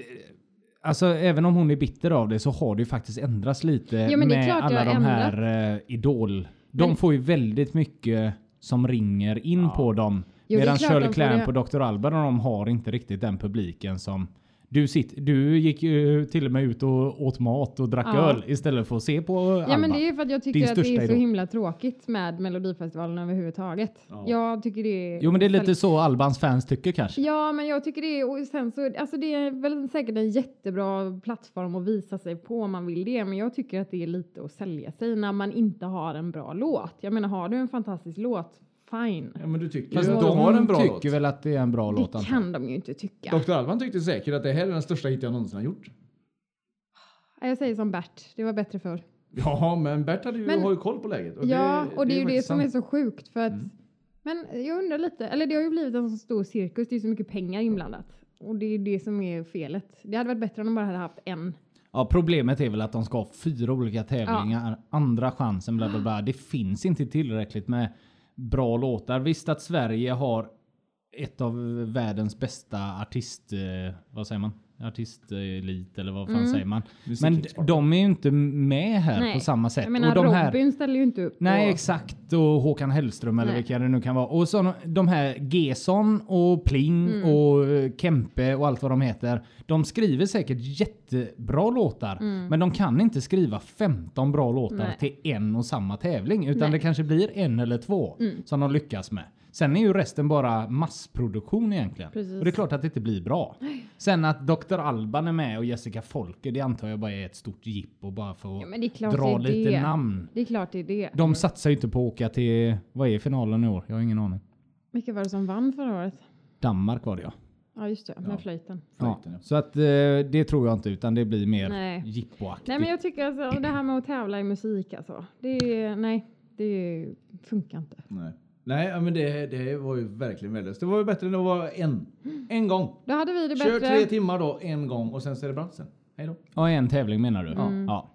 Alltså även om hon är bitter av det så har det ju faktiskt ändrats lite Ja, men det är med klart det alla har de här eh, Idol. De Men- får ju väldigt mycket som ringer in på dem. det är medan klart Shirley de får Clamp det. och Dr. Alban och de har inte riktigt den publiken som... Du, sitt, du gick ju till och med ut och åt mat och drack Ja. öl istället för att se på Alban. Ja men det är ju för att jag Din tycker att det största är så idol. himla tråkigt med Melodifestivalen överhuvudtaget. Ja. Jag tycker det är... Jo men det är lite så Albans fans tycker kanske. Ja men jag tycker det är, och sen så, alltså det är väl säkert en jättebra plattform att visa sig på om man vill det, men jag tycker att det är lite att sälja sig när man inte har en bra låt. Jag menar har du en fantastisk låt, fine. Ja, men du tycker Fast ju att de de har en bra tycker låt. väl att det är en bra låt. det antar jag. kan de ju inte tycka. Dr. Alban tyckte säkert att det här är den största hit jag någonsin har gjort. Nej, Jag säger som Bert, det var bättre förr. Ja, men Bert hade ju, Men- har ju koll på läget. ja, och det, är ju det faktiskt som är sant. så sjukt för att Mm. Men jag undrar lite, eller det har ju blivit en så stor cirkus, det är så mycket pengar inblandat. Och det är ju det som är felet. Det hade varit bättre om de bara hade haft en. Ja, problemet är väl att de ska ha fyra olika tävlingar, andra chansen, bla bla bla. Det finns inte tillräckligt med bra låtar. Visst att Sverige har ett av världens bästa artist... Eh, vad säger man? Artistelit eller vad fan säger man? Men d- de är ju inte med här på Mm. Nej. samma sätt. Jag menar, och de Robin här, ställer ju inte upp. Nej och- exakt och Håkan Hellström eller Nej. vilka det nu kan vara. Och så de här Gesson och Pling Mm. och eh, Kempe och allt vad de heter. De skriver säkert jättebra låtar men de kan inte skriva 15 bra låtar Mm. Nej. till en och samma tävling utan Nej. Mm. det kanske blir en eller två som de lyckas med. Sen är ju resten bara massproduktion egentligen. Precis. Och det är klart att det inte blir bra. Sen att Dr. Alban är med och Jessica Folke, det antar jag bara är ett stort jippo bara för att Ja, men det är klart dra det är lite det. namn. Det är klart det är det. De satsar ju inte på att åka till, vad är finalen i år? Jag har ingen aning. Vilka var det som vann förra året? Danmark var det ja. Ja just det, med flöjten. ja. Flöjten, ja. Så att eh, det tror jag inte utan det blir mer Nej. jippoaktigt. Nej men jag tycker alltså det här med att tävla i musik alltså. Det är, nej, det funkar inte. Nej, Nej ja, men det, det var ju verkligen värdelöst. Det var ju bättre än det var en. En gång. Då hade vi det Kör tre bättre. timmar då, en gång och sen så är det branschen. Hej då. Ja, en tävling menar du? Mm. Ja.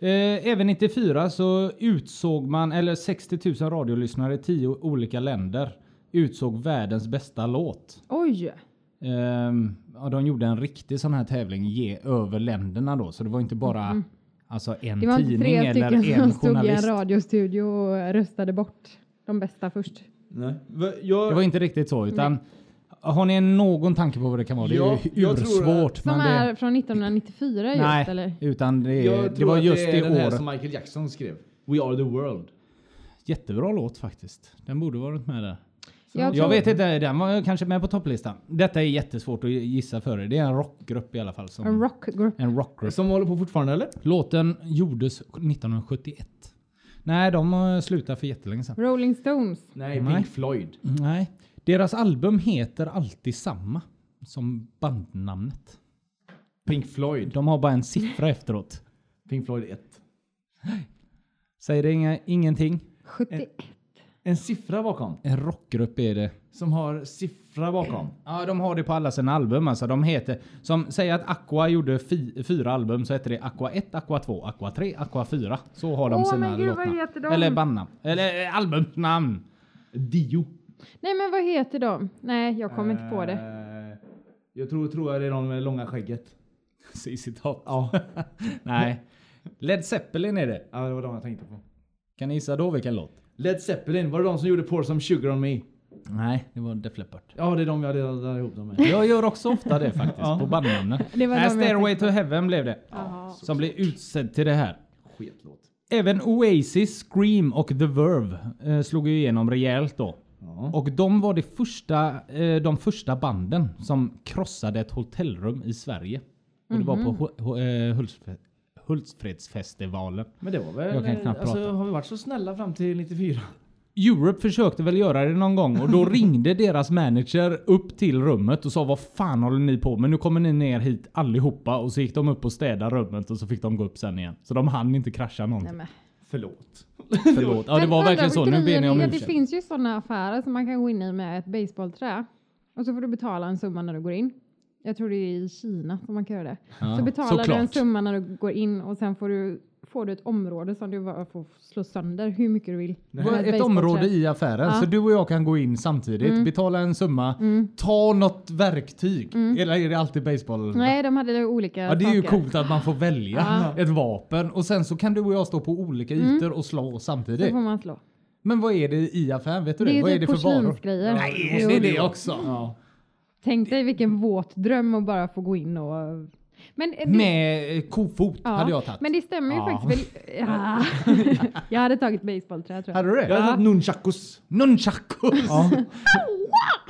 Eh, även 94 så utsåg man, eller 60 000 radiolyssnare i tio olika länder utsåg världens bästa låt. Oj! Ehm, ja, de gjorde en riktig sån här tävling ge över länderna då, så det var inte bara alltså, en Mm. Det var inte tidning tre eller stycken en som stod i en journalist. radiostudio och röstade bort de bästa först. Nej. Det var inte riktigt så utan Har ni någon tanke på vad det kan vara? Det Ja, är ju jag tror ursvårt. Som men det, är från 1994 just nej, eller? utan det, jag det var just att det är det, den här året. som Michael Jackson skrev. We are the world. Jättebra låt faktiskt. Den borde varit med där. Jag Jag, tror- vet inte, den var kanske med på topplistan. Detta är jättesvårt att gissa för er. Det är en rockgrupp i alla fall. Som, En rockgrupp. en rockgrupp. Som håller på fortfarande eller? Låten gjordes 1971. Nej, de har slutat för jättelänge sedan. Rolling Stones. Nej, Nej. Pink Floyd. Nej. Deras album heter alltid samma som bandnamnet. Pink Floyd. De har bara en siffra efteråt. Pink Floyd 1. Säger det inga, ingenting? 71. En siffra bakom. En rockgrupp är det. Som har siffra bakom. Ja, de har det på alla sina album alltså. De heter... Som, säg att Aqua gjorde fi, fyra album så heter det Aqua 1, Aqua 2, Aqua 3, Aqua 4. Så har de Åh, sina men gud, vad låtnamn. heter de? Eller bandnamn. Eller eh, albumnamn. Dio. Nej, men vad heter de? Nej, jag kommer inte på det. Eh, Jag tror, tror jag det är de med långa skägget. Säg citat. Ja. (laughs) Nej. Led Zeppelin är det. ja, det var de jag tänkte på. Kan ni gissa då vilken låt? Led Zeppelin, var det de som gjorde Pour Some Sugar On Me? Nej, det var Def Leppard. Ja, det är de jag delade ihop dem (laughs) med. Jag gör också ofta det faktiskt, på bandnamnen. Det var de Nej, jag Stairway to Heaven blev det. Som blev utsedd till det här. Skitlåt. Även Oasis, Scream och The Verve eh, slog ju igenom rejält då. Ja. Och de var det första, eh, de första banden som krossade ett hotellrum i Sverige. Och det var Mhm. på Hu- Hu- eh, Hultsfred- Hultsfredsfestivalen. Men det var väl... Jag kan knappt alltså, prata. Har vi varit så snälla fram till 94? Europe försökte väl göra det någon (laughs) gång och då ringde deras manager upp till rummet och sa vad fan håller ni på med? Nu kommer ni ner hit allihopa och så gick de upp och städade rummet och så fick de gå upp sen igen. Så de hann inte krascha Nej, någonting. men. Förlåt. Förlåt. Ja det var Men verkligen undrar så. vad Nu ber grejen ni om är att Det ursäkt. finns ju sådana affärer som man kan gå in i med ett baseballträ. Och så får du betala en summa när du går in. Jag tror det är i Kina som man kan göra det. Ja, så betalar du en såklart. summa när du går in och sen får du, får du ett område som du bara får slå sönder hur mycket du vill. Det med var Ett baseballträ. område i affären Ja. Mm. så du och jag kan gå in samtidigt, betala en summa, ta något verktyg. Eller är det alltid baseball? Mm. Nej, de hade olika Ja, det är ju saker. coolt att man får välja ett vapen och sen så kan du och jag stå på olika ytor och slå Så samtidigt. Mm. får man slå. Men vad är det i affären? Vet du det? Det är vad är typ det för varor? porslinsgrejer. Nej, Jo. det är det också. Tänk dig vilken våt dröm att bara få gå in och... Men det- Med eh, kofot ja, hade jag tagit. Men det stämmer ju Ja. faktiskt (laughs) väl... Ja. jag hade tagit baseballträ tror jag. Hade du det? Jag Ah. hade tagit nunchakus. Nunchakus! (laughs) Ja.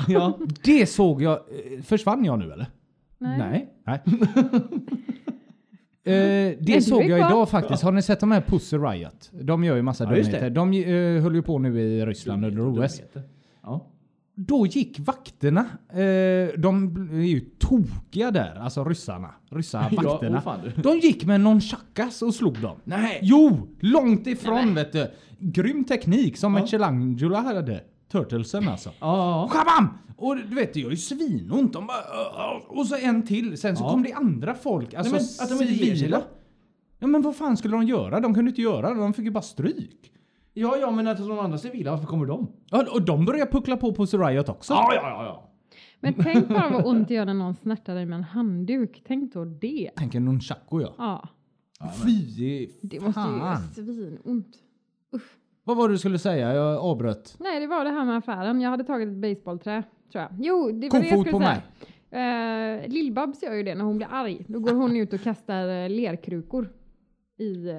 Ja. Det såg jag. eh, Försvann jag nu eller? Nej. Nej. Eh, är det såg jag kvar. idag faktiskt. Har ni sett de här Pussy Riot? De gör ju massa Ja, just det. dumheter. De eh, höll ju på nu i Ryssland under OS. Ja. Då gick vakterna. Eh, de är ju tokiga där, alltså ryssarna. Ryssarna, Ja, vakterna. åh fan du. de gick med någon chakas och slog dem. Nej. Jo! Långt ifrån vet du. Grym teknik som Michelangelo hade. Turtlesen alltså. Ja, Shabam! Och du vet, det gör ju svinont. De bara, "Åh, åh." och så en till. Sen så Ja. kom det andra folk. Alltså men att de inte ger sig civila. då? Ja men vad fan skulle de göra? De kunde inte göra det. De fick ju bara stryk. ja, ja, men att de andra civila, varför kommer de? Ja, Och de började puckla på på Riot också. Ja, ja, ja, ja. Men tänk bara vad ont det gör när någon snärtar dig med en handduk. Tänk då det. Tänker nunchaku ja. Ja, Fy det måste ju göra fan. svinont. Vad var det du skulle säga? Jag avbröt. Nej, det var det här med affären. Jag hade tagit ett baseballträ tror jag. Jo, det var det jag Kofot skulle på säga. mig. Eh, Lill-Babs gör ju det när hon blir arg. Då går hon ut och kastar eh, lerkrukor i... eh,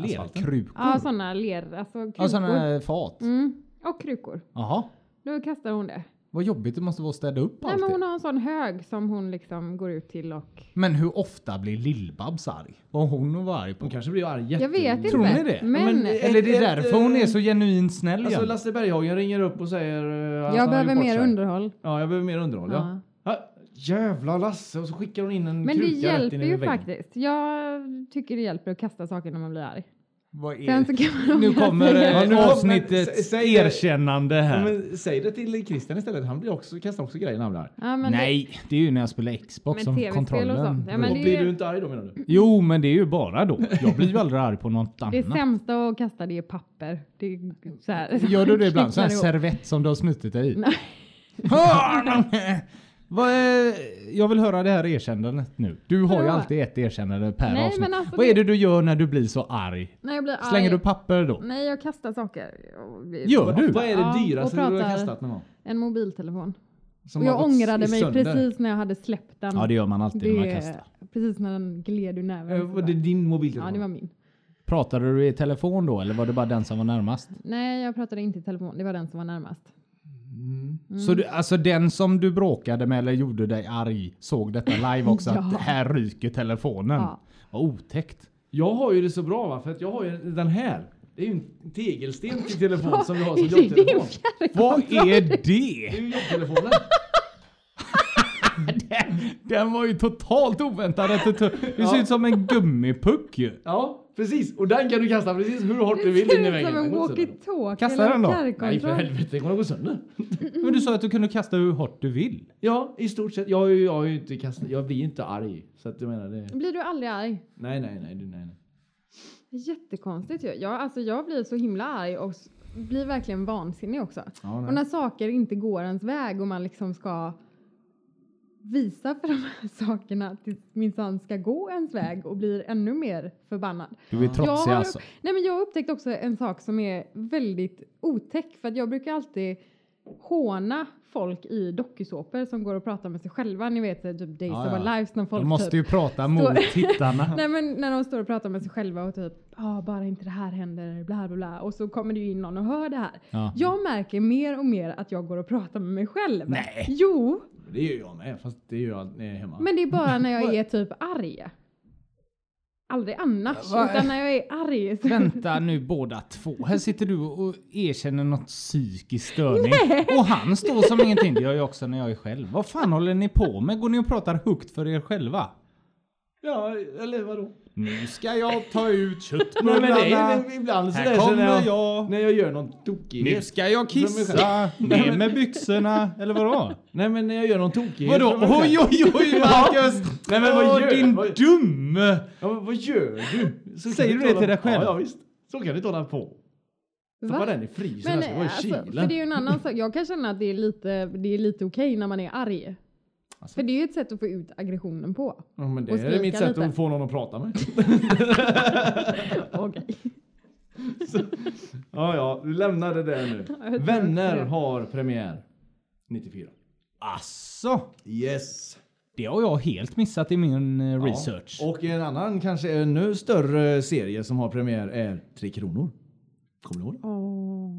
Alltså, Lerkrukor. Ja, sådana ler... Alltså krukor. Mm. Ja, sådana här fat. Mm, och krukor. Jaha. Då kastar hon det. Vad jobbigt det måste vara att städa upp Nej, allt men hon det. har en sån hög som hon liksom går ut till och... Men hur ofta blir Lill-Babs arg? Vad hon var arg på? De kanske blir arga. Jag vet inte. Tror ni det? Men, Men, eh, Eller det är Ett, därför eh, hon är så genuint snäll Alltså igen. Lasse Berghagen ringer upp och säger... eh, att han har jag behöver gjort mer sig. underhåll. Ja, jag behöver mer underhåll, ja. Ja. Ja, jävla Lasse! Och så skickar hon in en Men det kruka rätt hjälper in i ju väggen. faktiskt. Jag tycker det hjälper att kasta saker när man blir arg. Vad är- Sen så kan man Nu ångra kommer sig. Ja, eh, nu kommer- sä- avsnittets säg det. erkännande Ja, här. men säg det till Christian istället. Han blir också, kastar också grejer när han blir arg. Ja, men Nej, det är ju när jag spelar Men Xbox som TV-spel och kontrollen. sånt. Ja, men Och det- blir du inte arg då menar du? Jo, men det är ju bara då. Jag blir ju aldrig arg på något Det, det annat. sämsta att kasta det är papper. Det är så här. (laughs) Gör (laughs) du det ibland? Sån här Knycklar ihop. servett som du har snutit dig i? (laughs) Nej. Ah, men- Vad är- jag vill höra det här erkännandet nu. Du har ju Vadå? alltid ett erkännande per Nej, avsnitt. men alltså Vad är det- det du gör när du blir så arg? När jag blir arg. Slänger du papper då? Nej, jag kastar saker. Jag blir- Gör du? Vad är det Ja, dyraste och du har pratar- kastat någon gång? En mobiltelefon. Som och har jag gått ångrade i mig sönder? precis när jag hade släppt den. Ja, det gör man alltid när man Det- kastar. Precis när den gled ur näven. Eh, så Var bara- det din mobiltelefon? Ja, det var min. Pratade du i telefon då eller var det bara den som var närmast? Nej, jag pratade inte i telefon. Det var den som var närmast. Mm. Så du, alltså den som du bråkade med eller gjorde dig arg såg detta live också? (laughs) Ja. att här ryker telefonen. Ja. Vad (laughs) otäckt. Jag har ju det så bra va, för att jag har ju den här. Det är ju en tegelsten till telefon som jag (laughs) har som Det är din jobbtelefon. Vad fjärrkontroll. är det? Det är ju jobbtelefonen. Den, den var ju totalt oväntad. att Det tog- det ser ut som en gummipuck ju. Ja, precis. Och den kan du kasta precis hur hårt du Det vill in i ser ut väggen. som en Den går sönder. walkie-talkie. Kasta eller den då. Nej för fjärrkontroll. helvete, den kommer gå sönder. Men du sa att du kunde kasta hur hårt du vill. Ja, i stort sett. Jag, har ju- jag, har ju inte kastat, jag blir ju inte arg. Så att du menar det. Blir du aldrig arg? Nej, nej, nej. nej, nej. Det är Jättekonstigt ju. Jag, alltså, jag blir så himla arg och s- blir verkligen vansinnig också. Ja, nej. Och när saker inte går ens väg och man liksom ska visa för de här (laughs) sakerna att det minsann ska gå ens väg och blir ännu mer förbannad. Du är Jag trotsig har- alltså. Nej, men jag har upptäckt också en sak som är väldigt otäck för att jag brukar alltid håna folk i dokusåpor som går och pratar med sig själva. Ni vet typ Days Ja, of ja. Our Lives när folk De måste typ, ju prata mot Står- (laughs) tittarna. Nej men när de står och pratar med sig själva och typ ah, bara inte det här händer bla bla bla och så kommer det ju in någon och hör det här. Ja. Jag märker mer och mer att jag går och pratar med mig själv. Nej. Jo, Men Det gör jag med, fast det gör jag när jag är hemma. men det är bara när jag är typ arg. Aldrig annars, Va? utan när jag är arg. Så Vänta nu båda två. Här sitter du och erkänner något psykisk störning. Och han står som ingenting. Det gör jag också när jag är själv. Vad fan håller ni på med? Går ni och pratar högt för er själva? Ja, eller vadå? Nu ska jag ta ut Nej, men det köttbullarna. är ibland så Här där så när kommer jag, jag. när jag gör någon Nu tokighet. ska jag kissa. Ner med byxorna. Eller vadå? Nej men när jag gör någon tokighet. Vadå? för mig själv. Oj, oj, (laughs) oj, Marcus! Nej, men vad Åh, gör- din vad- dumme! Ja, men vad gör du? Så Säger kan du det inte till hålla- dig själv? Ja, ja visst. Så kan du inte hålla på. Stoppa Va? den i frysen. Men den ska vara i alltså, för kylen. det är ju en annan sak. Jag kan känna att det är lite, det är lite okej när man är arg. Alltså. För det är ju ett sätt att få ut aggressionen (laughs) på. Ja, men det och är skrika mitt sätt lite. att få någon att prata med. Okej. Ja, ja, vi lämnar det där (laughs) nu. tror Vänner också det. har premiär 94. Asså, Yes. Alltså, det har jag helt missat i min eh, Ja. research. Och en annan, kanske ännu större serie som har premiär är Tre Kronor. Kommer du ihåg det? Åh.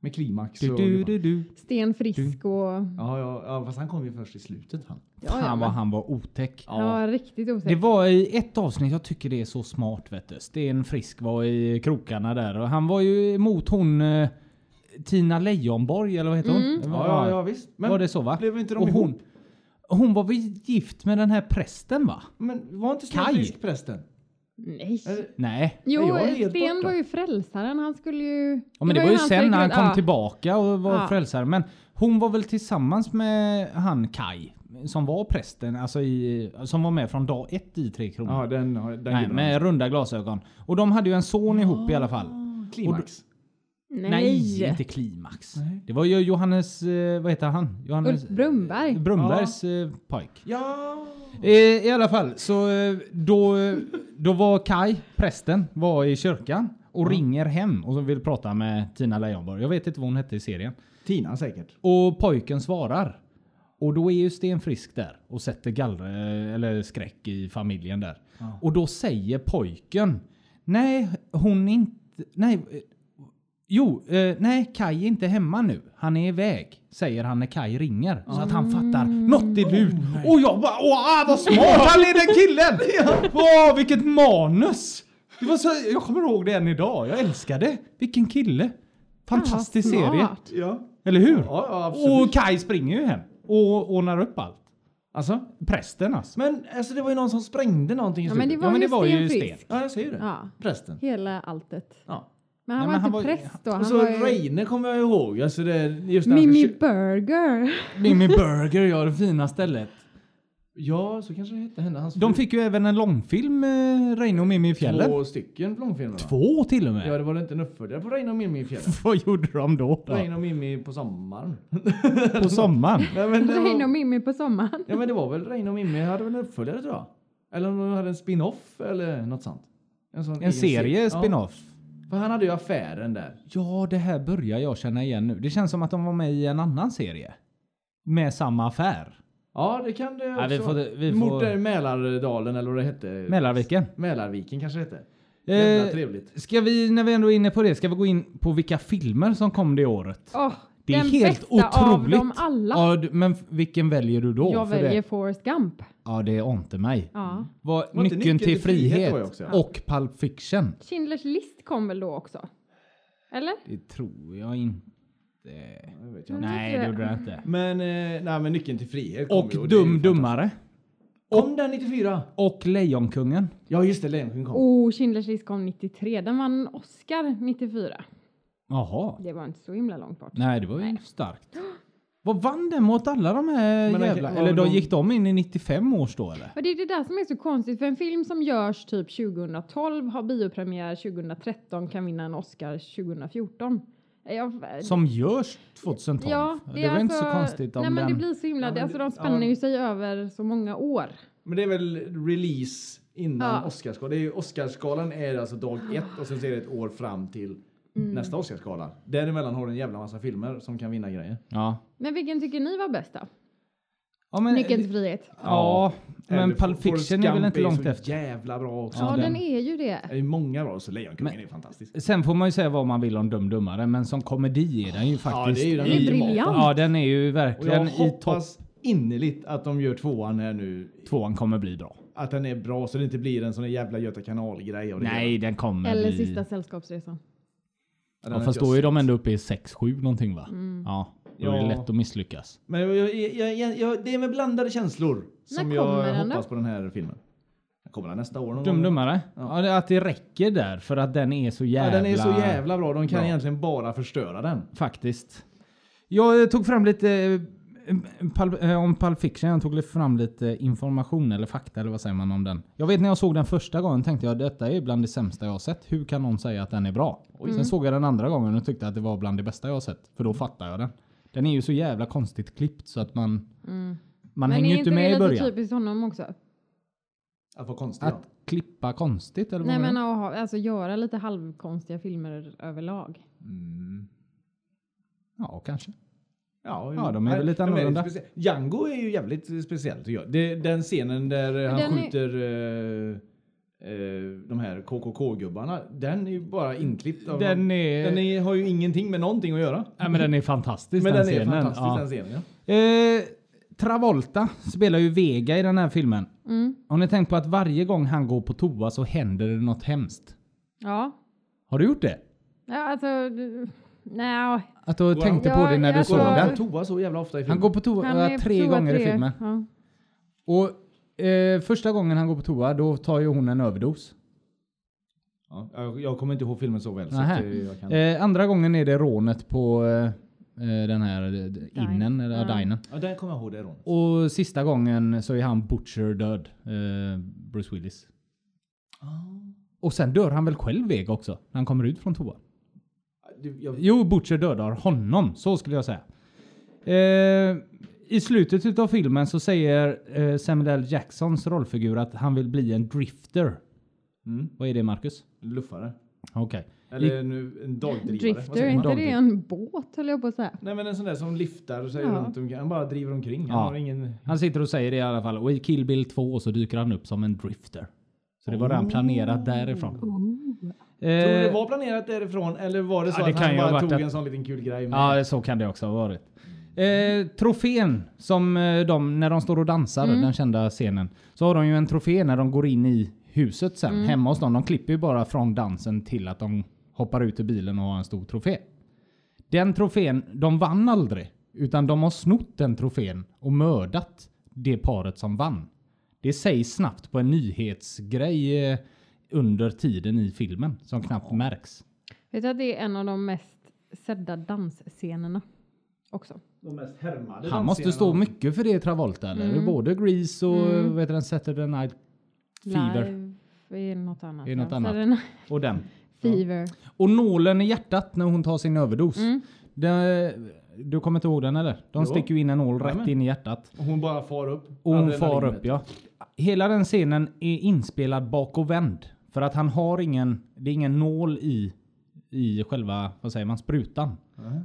Med klimax Du, och... du, du, du. Sten Frisk och... Ja, ja, ja, fast han kom ju först i slutet han. Fan vad han var otäck. Ja, Ja. riktigt Det osäker. var i ett avsnitt, jag tycker det är så smart vet du. Sten Frisk var i krokarna där och han var ju emot hon eh, Tina Leijonborg eller vad heter hon? Det Ja, var- ja, ja visst. Men var det så va? Blev inte de och ihop? hon, hon var väl gift med den här prästen va? Men var inte Kaj. Kaj prästen? Mm. Nej. Eller- Nej. Jo, jag är helt Sten borta. var ju frälsaren. Han skulle ju... Ja, men det, var ju hans sen när han rekryt- kom ja. tillbaka och var Ja. frälsare. Men hon var väl tillsammans med han Kai som var prästen, alltså i, som var med från dag ett i Tre Kronor. Ja, den har den Nej, gillar med jag. runda glasögon. Och de hade ju en son ihop i alla fall. Ah. Klimax. Nej. Nej, inte klimax. Nej. Det var ju Johannes, eh, vad heter han? Johannes Ulf Brunnberg. Brunnbergs eh, pojk. Ja! Eh, I alla fall, så eh, då, eh, då var Kai, prästen, var i kyrkan och ringer hem och så vill prata med Tina Leijonborg. Jag vet inte vad hon hette i serien. Tina säkert. Och pojken svarar. Och då är ju Sten Frisk där och sätter gallre, eller skräck i familjen där. Ja. Och då säger pojken. Nej, hon är inte... Nej. eh, Jo, eh, nej, Kai är inte hemma nu. Han är iväg, säger han när Kai ringer. Så att han fattar. Mm. Något är lurt. och jag bara, åh ah, vad smart han är den (laughs) killen! Åh, vilket manus! Det var så, jag kommer ihåg det än idag. Jag älskar det. Vilken kille. Fantastisk Ja, serie. smart. Ja. Eller hur? Ja, ja, absolut. Och Kai springer ju hem och ordnar upp allt. Alltså? Prästen alltså. Men alltså det var ju någon som sprängde någonting i Ja, slutet. men det var, Ja, men ju, det var Sten ju Sten. Frisk. Ja, jag säger det. Ja. Prästen. Hela alltet. Ja. Men han Nej, men var han inte var ju- präst då. Han Och så var ju... Reine kommer jag ihåg. Alltså det, just när han Mimmi försö- Burger. Mimmi Burger gör det fina stället. Ja, så kanske det hette. Henne, hans De fru. fick ju även en långfilm, eh, Reine och Mimmi i fjällen. Två. Två stycken långfilmer. va? till och med. Ja, det var det inte en uppföljare på Reine och Mimmi i fjällen. (laughs) Vad gjorde de då? då? Reine och Mimmi på sommaren. På (laughs) sommaren? Nej, men (laughs) det Reine och var, Mimmi på sommaren. ja, men det var väl Reine och Mimmi hade väl en uppföljare tror jag. Eller om de hade en spin-off eller något sånt. sån egen En serie Ja, spin-off. för han hade ju affären där. Ja, det här börjar jag känna igen nu. Det känns som att de var med i en annan serie. Med samma affär. Ja, det kan det också. Ja, vi får- vi Mot får- där Mälardalen eller vad det hette. Mälarviken. Mälarviken kanske det hette. Jävla Eh, trevligt. Ska vi, när vi ändå är inne på det, ska vi gå in på vilka filmer som kom det året? Åh, Det är den helt bästa otroligt. av dem alla. Ja, d- men f- vilken väljer du då? jag För väljer Det? Mm. Forrest Gump. Ja, det är inte mig. Ja. Var inte nyckeln, till frihet, var jag också, ja. och Pulp Fiction. Schindler's list kom väl då också? Eller? Det tror jag inte. jag Nej, inte. det gjorde jag inte. Men, eh, nej, men Nyckeln till frihet kom ju, Och det är ju Dum Dummare. Kom den 94? Och Lejonkungen. Ja just det, Lejonkungen kom. Oh, Schindler's list kom 93. Den vann en Oscar 94. Jaha. Det var inte så himla långt bort. Nej, det var ju starkt. Vad vann den mot alla de här Men den- jävla... ja, Eller då de- gick de in i 95 års då eller? Och det är det där som är så konstigt, för en film som görs typ 2012 har biopremiär 2013 kan vinna en Oscar 2014. Jag, Som görs 2012. eh, Ja, det, var är inte så alltså- konstigt om nej, den... Men det blir så himla, Ja, men alltså det- de spänner ja. ju sig över så många år. Men det är väl release innan Ja. Oscarsgalan. Det är ju, Oscarsgalan är alltså dag ett och sen så är det ett år fram till nästa Oscarsgala. Däremellan har du en jävla massa filmer som kan vinna grejer. Ja. Men vilken tycker ni var bäst då? Ja, men, Nyckeln till frihet. ja, Eller men Forrest Pulp Fiction är väl Gump inte ju långt så efter. jävla bra också. Ja, Ja, den. den. är ju det. Det är många bra, så Lejonkungen Men- är fantastisk. Sen får man ju säga vad man vill om Dum Dummare, men som komedi är den ju faktiskt... det är ju den i- ultimata. Ja, den är ju Och jag verkligen i topp. hoppas innerligt att de gör tvåan här nu. Tvåan kommer bli bra. Att den är bra så det inte blir en sån där jävla Göta kanal-grej. av det Nej, hela. den kommer Eller bli... Sista sällskapsresan. Ja, den Ja, har fast inte jag då är sett. de ändå uppe i 6-7 någonting va? Mm. Ja. Då är det Ja. lätt att misslyckas. Men jag, jag, jag, jag, jag, det är med blandade känslor som När jag kommer den då? hoppas på den här filmen. Den Kommer den nästa år någon Dum gång? Dummare? Ja. det- att det räcker där för att den är så jävla... Ja, den är så jävla bra. De kan bra. egentligen bara förstöra den. Faktiskt. Jag eh, tog fram lite eh, Pulp- eh, om Pulp Fiction. Jag tog fram lite information eller fakta eller vad säger man om den. Jag vet när jag såg den första gången tänkte jag detta är bland det sämsta jag har sett. Hur kan någon säga att den är bra? Mm. Sen såg jag den andra gången och tyckte att det var bland det bästa jag har sett. För då fattar jag den. Den är ju så jävla konstigt klippt så att man... Man Mm. Men hänger ju är inte inte med i det början. Mm. lite typ- typiskt honom också? Att vara konstig. Att klippa konstigt eller vad Nej var det? men att ha- alltså göra lite halvkonstiga filmer överlag. Ja, kanske. Ja, Ja, de är väl lite de är annorlunda. specie- Django är ju jävligt speciell tycker jag. Det, den scenen där eh, han den är- skjuter eh, eh, de här KKK-gubbarna. Den är ju bara inklippt. Av Den är- den är, har ju ingenting med någonting att göra. Nej, men den är fantastisk Men den, är scenen. fantastisk Ja. den scenen. Ja. Eh, Travolta spelar ju Vega i den här filmen. Mm. Har ni tänkt på att varje gång han går på toa så händer det något hemskt? Ja. Har du gjort det? ja alltså, d- nej. Att du han- tänkte på Ja, det när du jag såg tror- Går på den? toa så jävla ofta i Han filmen. går på toa Han är på tre toa gånger i tre. filmen. Ja. Och eh, första gången han går på toa då tar ju hon en överdos. Ja, jag- jag kommer inte ihåg filmen så väl. Så Nähä. att, eh, jag kan... Eh, andra gången är det rånet på eh, eh, den här eh, innen, eller ja. dinen. Ja, den kommer jag ihåg. Det är Ron. Och sista gången så är han Butcher död. Eh, Bruce Willis. Och sen dör han väl själv Vega också? När han kommer ut från toa. Ah, Du, jag- Jo, Butcher dödar honom. Så skulle jag säga. Eh, I slutet av filmen så säger eh, Samuel L. Jacksons rollfigur att han vill bli en drifter. Mm. Vad är det Marcus? Luffare. Okej. Eller en, en dagdrivare. Vad Drifter, säger är man? inte det Dagdriv. en båt höll jag på att säga. Nej men en sån där som liftar sig Ja. runt omkring. Han bara driver omkring. Han Ja. har ingen... Han sitter och säger det i alla fall. Och i Kill Bill 2 så dyker han upp som en drifter. Så det var redan planerat därifrån. Eh, Tror du det var planerat därifrån eller var det så Ja, det att kan han ju ha bara varit tog att- en sån liten kul grej? Med? Ja, så kan det också ha varit. Eh, trofén som eh, de, när de står och dansar, den kända scenen. Så har de ju en trofé när de går in i huset sen, hemma hos dem. De klipper ju bara från dansen till att de hoppar ut ur bilen och har en stor trofé. Den trofén, de vann aldrig. Utan de har snott den trofén och mördat det paret som vann. Det sägs snabbt på en nyhetsgrej eh, under tiden i filmen som knappt märks. Vet du att det är en av de mest sedda dansscenerna också? De mest härmade Han måste stå mycket för det Travolta eller? Både Grease och vad heter den Saturday Night Fever. Live är något annat. Är något ja. annat. Saturday Night Och den. Fever. Och nålen i hjärtat när hon tar sin överdos. Den, du kommer inte ihåg den eller? De Jo. sticker ju in en nål rätt Jajamän. in i hjärtat. Och hon bara far upp. Och hon Adrenalinet. far upp ja. Hela den scenen är inspelad bakovänd. För att han har ingen, det är ingen nål i, i själva, vad säger man, sprutan.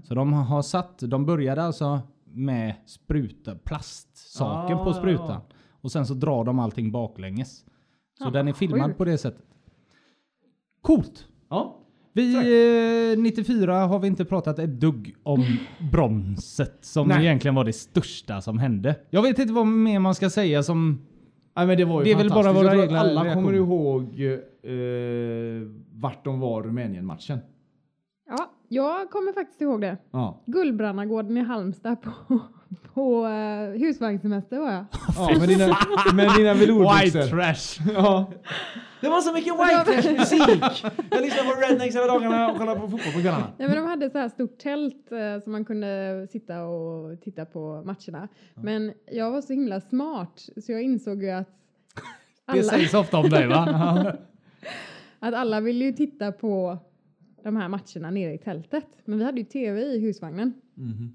Så de har satt, de började alltså med spruta, plastsaken Ah, på ja. sprutan. Ah, Och sen så drar de allting baklänges. Så den är filmad sjukt. på det sättet. Coolt! Ja. Vi, eh, 94 har vi inte pratat ett dugg om bronset som Nej. egentligen var det största som hände. Jag vet inte vad mer man ska säga som... Nej, men det var ju Det är väl fantastiskt. bara våra Jag tror att egna Alla reaktioner. kommer ihåg eh, vart de var Rumänien-matchen. Ja, jag kommer faktiskt ihåg det. Ja. Gullbrannagården i Halmstad på, på eh, husvagnssemester var jag. ja med dina, med dina velourbyxor. (laughs) White trash! Ja. Det var så mycket (laughs) white trash musik! Jag lyssnade på Rednecks hela dagarna och kollade på fotboll på kvällarna. Nej, men de hade så här stort tält eh, som man kunde sitta och titta på matcherna. Men jag var så himla smart så jag insåg ju att Det alla, sägs ofta om (laughs) dig va? att alla ville ju titta på de här matcherna nere i tältet. Men vi hade ju tv i husvagnen. Mhm.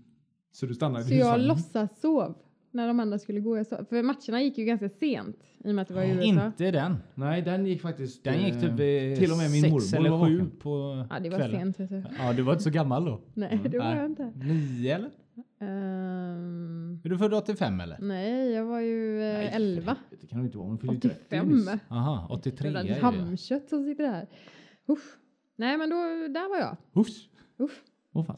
Så du stannade i Så jag husvagnen? låtsas sov när de andra skulle gå. Jag sov. För matcherna gick ju ganska sent i och med att det var i USA. inte den. Nej, den gick faktiskt... Den gick typ eh, vid Till och med min sex mormor var eller sju vaken. på Ja, det var kvällen. sent. Vet du. Ja, du var inte så (laughs) gammal då? Nej, det var Nej. jag inte. Nio eller? Ehm, Är du född 85 eller? nej, Mm, jag var ju eh, 11. Det kan du inte vara. Hon fyllde ju 30 85. nyss. Aha, 83 är Jävla ju Lammkött som sitter där. Usch. Nej, men då, där var jag. Hufs. Usch. Åh, fan.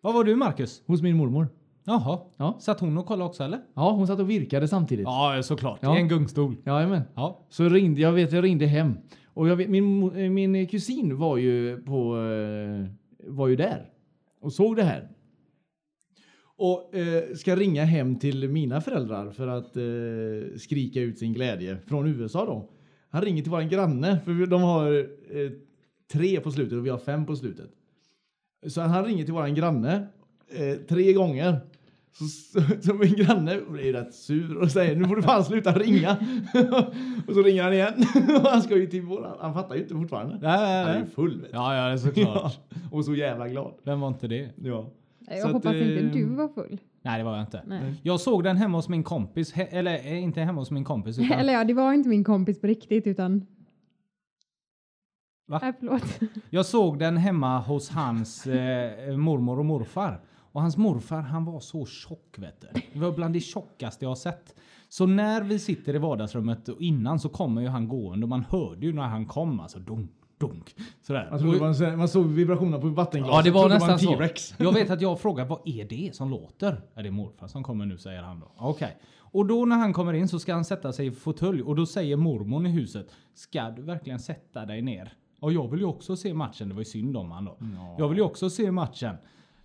Vad var du Marcus? Hos min mormor. Jaha. Ja. Satt hon och kollade också eller? Ja, hon satt och virkade samtidigt. Ja, såklart. Ja. I en gungstol. Jajamän. Ja. Så ringde, jag vet, jag ringde hem. Och jag vet, min, mo- eh, min kusin var ju på, eh, var ju där. Och såg det här. Och eh, ska ringa hem till mina föräldrar för att eh, skrika ut sin glädje. Från USA då. Han ringer till våran granne, för vi- de har eh, tre på slutet och vi har fem på slutet. Så han ringer till våran granne eh, tre gånger. Så, så, så min granne blir rätt sur och säger nu får du fan sluta ringa. (laughs) och så ringer han igen. (laughs) och han ska ju till våran, han fattar ju inte fortfarande. Nej, Han nej, är ju nej. full vet du. Ja, ja, (laughs) Ja, såklart. och så jävla glad. Vem var inte det? Ja. Jag Så att, hoppas inte eh, du var full. Nej, det var jag inte. Nej. Jag såg den hemma hos min kompis. He- eller eh, inte hemma hos min kompis (laughs) utan... Eller ja, det var inte min kompis på riktigt utan... Va? Nej, förlåt. Jag såg den hemma hos hans eh, mormor och morfar. Och hans morfar han var så tjock vet du. Det var bland det tjockaste jag har sett. Så när vi sitter i vardagsrummet och innan så kommer ju han gående och man hörde ju när han kom alltså dunk, dunk. Sådär. Man, trodde det Och- var en, sån här- man såg vibrationerna på vattenglaset. Ja, det var Trodde nästan en så. (laughs) T-rex. (laughs) Jag vet att jag frågar vad är det som låter? Är det är morfar som kommer nu säger han då. Okej. Och då när han kommer in så ska han sätta sig i fåtölj och då säger mormon i huset Ska du verkligen sätta dig ner? Och jag vill ju också se matchen. Det var ju synd om han då. Jag vill ju också se matchen.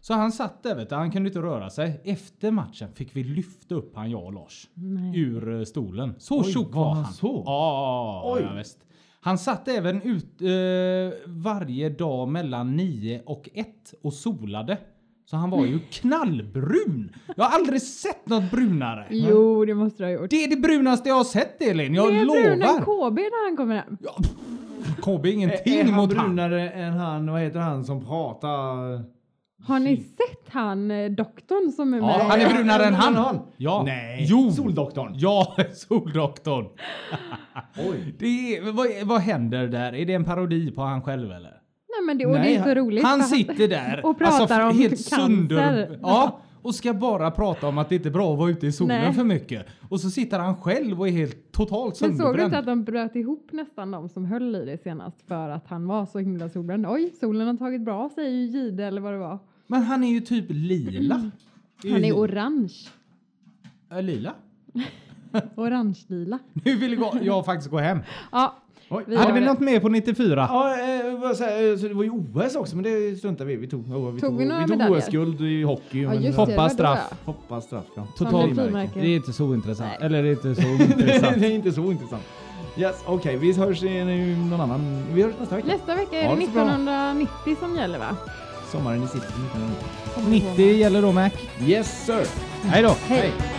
Så han satt där vet du. Han kunde inte röra sig. Efter matchen fick vi lyfta upp han jag och Lars. Ur eh, stolen. Så Oj, tjock var var han han. så? Ja, Oj. ja, visst. Han satt även ut eh, varje dag mellan 9 och 1 och solade. Så han var ju knallbrun! Jag har aldrig sett något brunare! Jo, det måste du ha gjort. Det är det brunaste jag har sett Elin, jag det är brunare än lovar! KB när han kommer hem. Ja, pff, KB är Är ingenting han mot han. brunare än han, vad heter han som pratar? Har ni sett han eh, doktorn som är med? Ja, han är brunare än han. Ja. Ja. Nej. Jo. Soldoktorn. Ja, (laughs) soldoktorn! Oj. Det är, vad, vad händer där? Är det en parodi på han själv eller? Nej, men det, och Nej, det är så han- roligt. Han för sitter där och pratar f- om helt cancer. Alltså- sönder. Ja, och ska bara prata om att det inte är bra att vara ute i solen Nej. för mycket. Och så sitter han själv och är helt (laughs) totalt Men såg du sönderbränd. inte att de bröt ihop nästan de som höll i det senast för att han var så himla solbränd? Oj, solen har tagit bra av sig i Gide eller vad det var. Men han är ju typ lila. Mm. Han är orange. Äh, lila? Orange-lila. Nu vill jag, (laughs) gå- jag faktiskt gå hem. Ja, Oj. vi Hade har vi det. något mer på 94? Ja, eh, vad säger- eh, så det var ju OS också, men det struntar vi i. Vi tog, oh, vi Tog tog, vi några vi tog medaljer? OS-guld i hockey. Ja, men- just det, Hoppa det var då, straff. ja. Hoppa straff, ja. Som Totalt. blir frimärke. Det är inte så intressant. Nej. Eller det är inte (laughs) så (laughs) det intressant. är inte så intressant. Yes, okej, vi hörs i en- någon annan... Vi hörs nästa vecka. Nästa vecka är Ha det det så bra. 1990 som gäller va? Sommaren i city. Det gäller då Mac. Yes, sir! Hej då! Hej.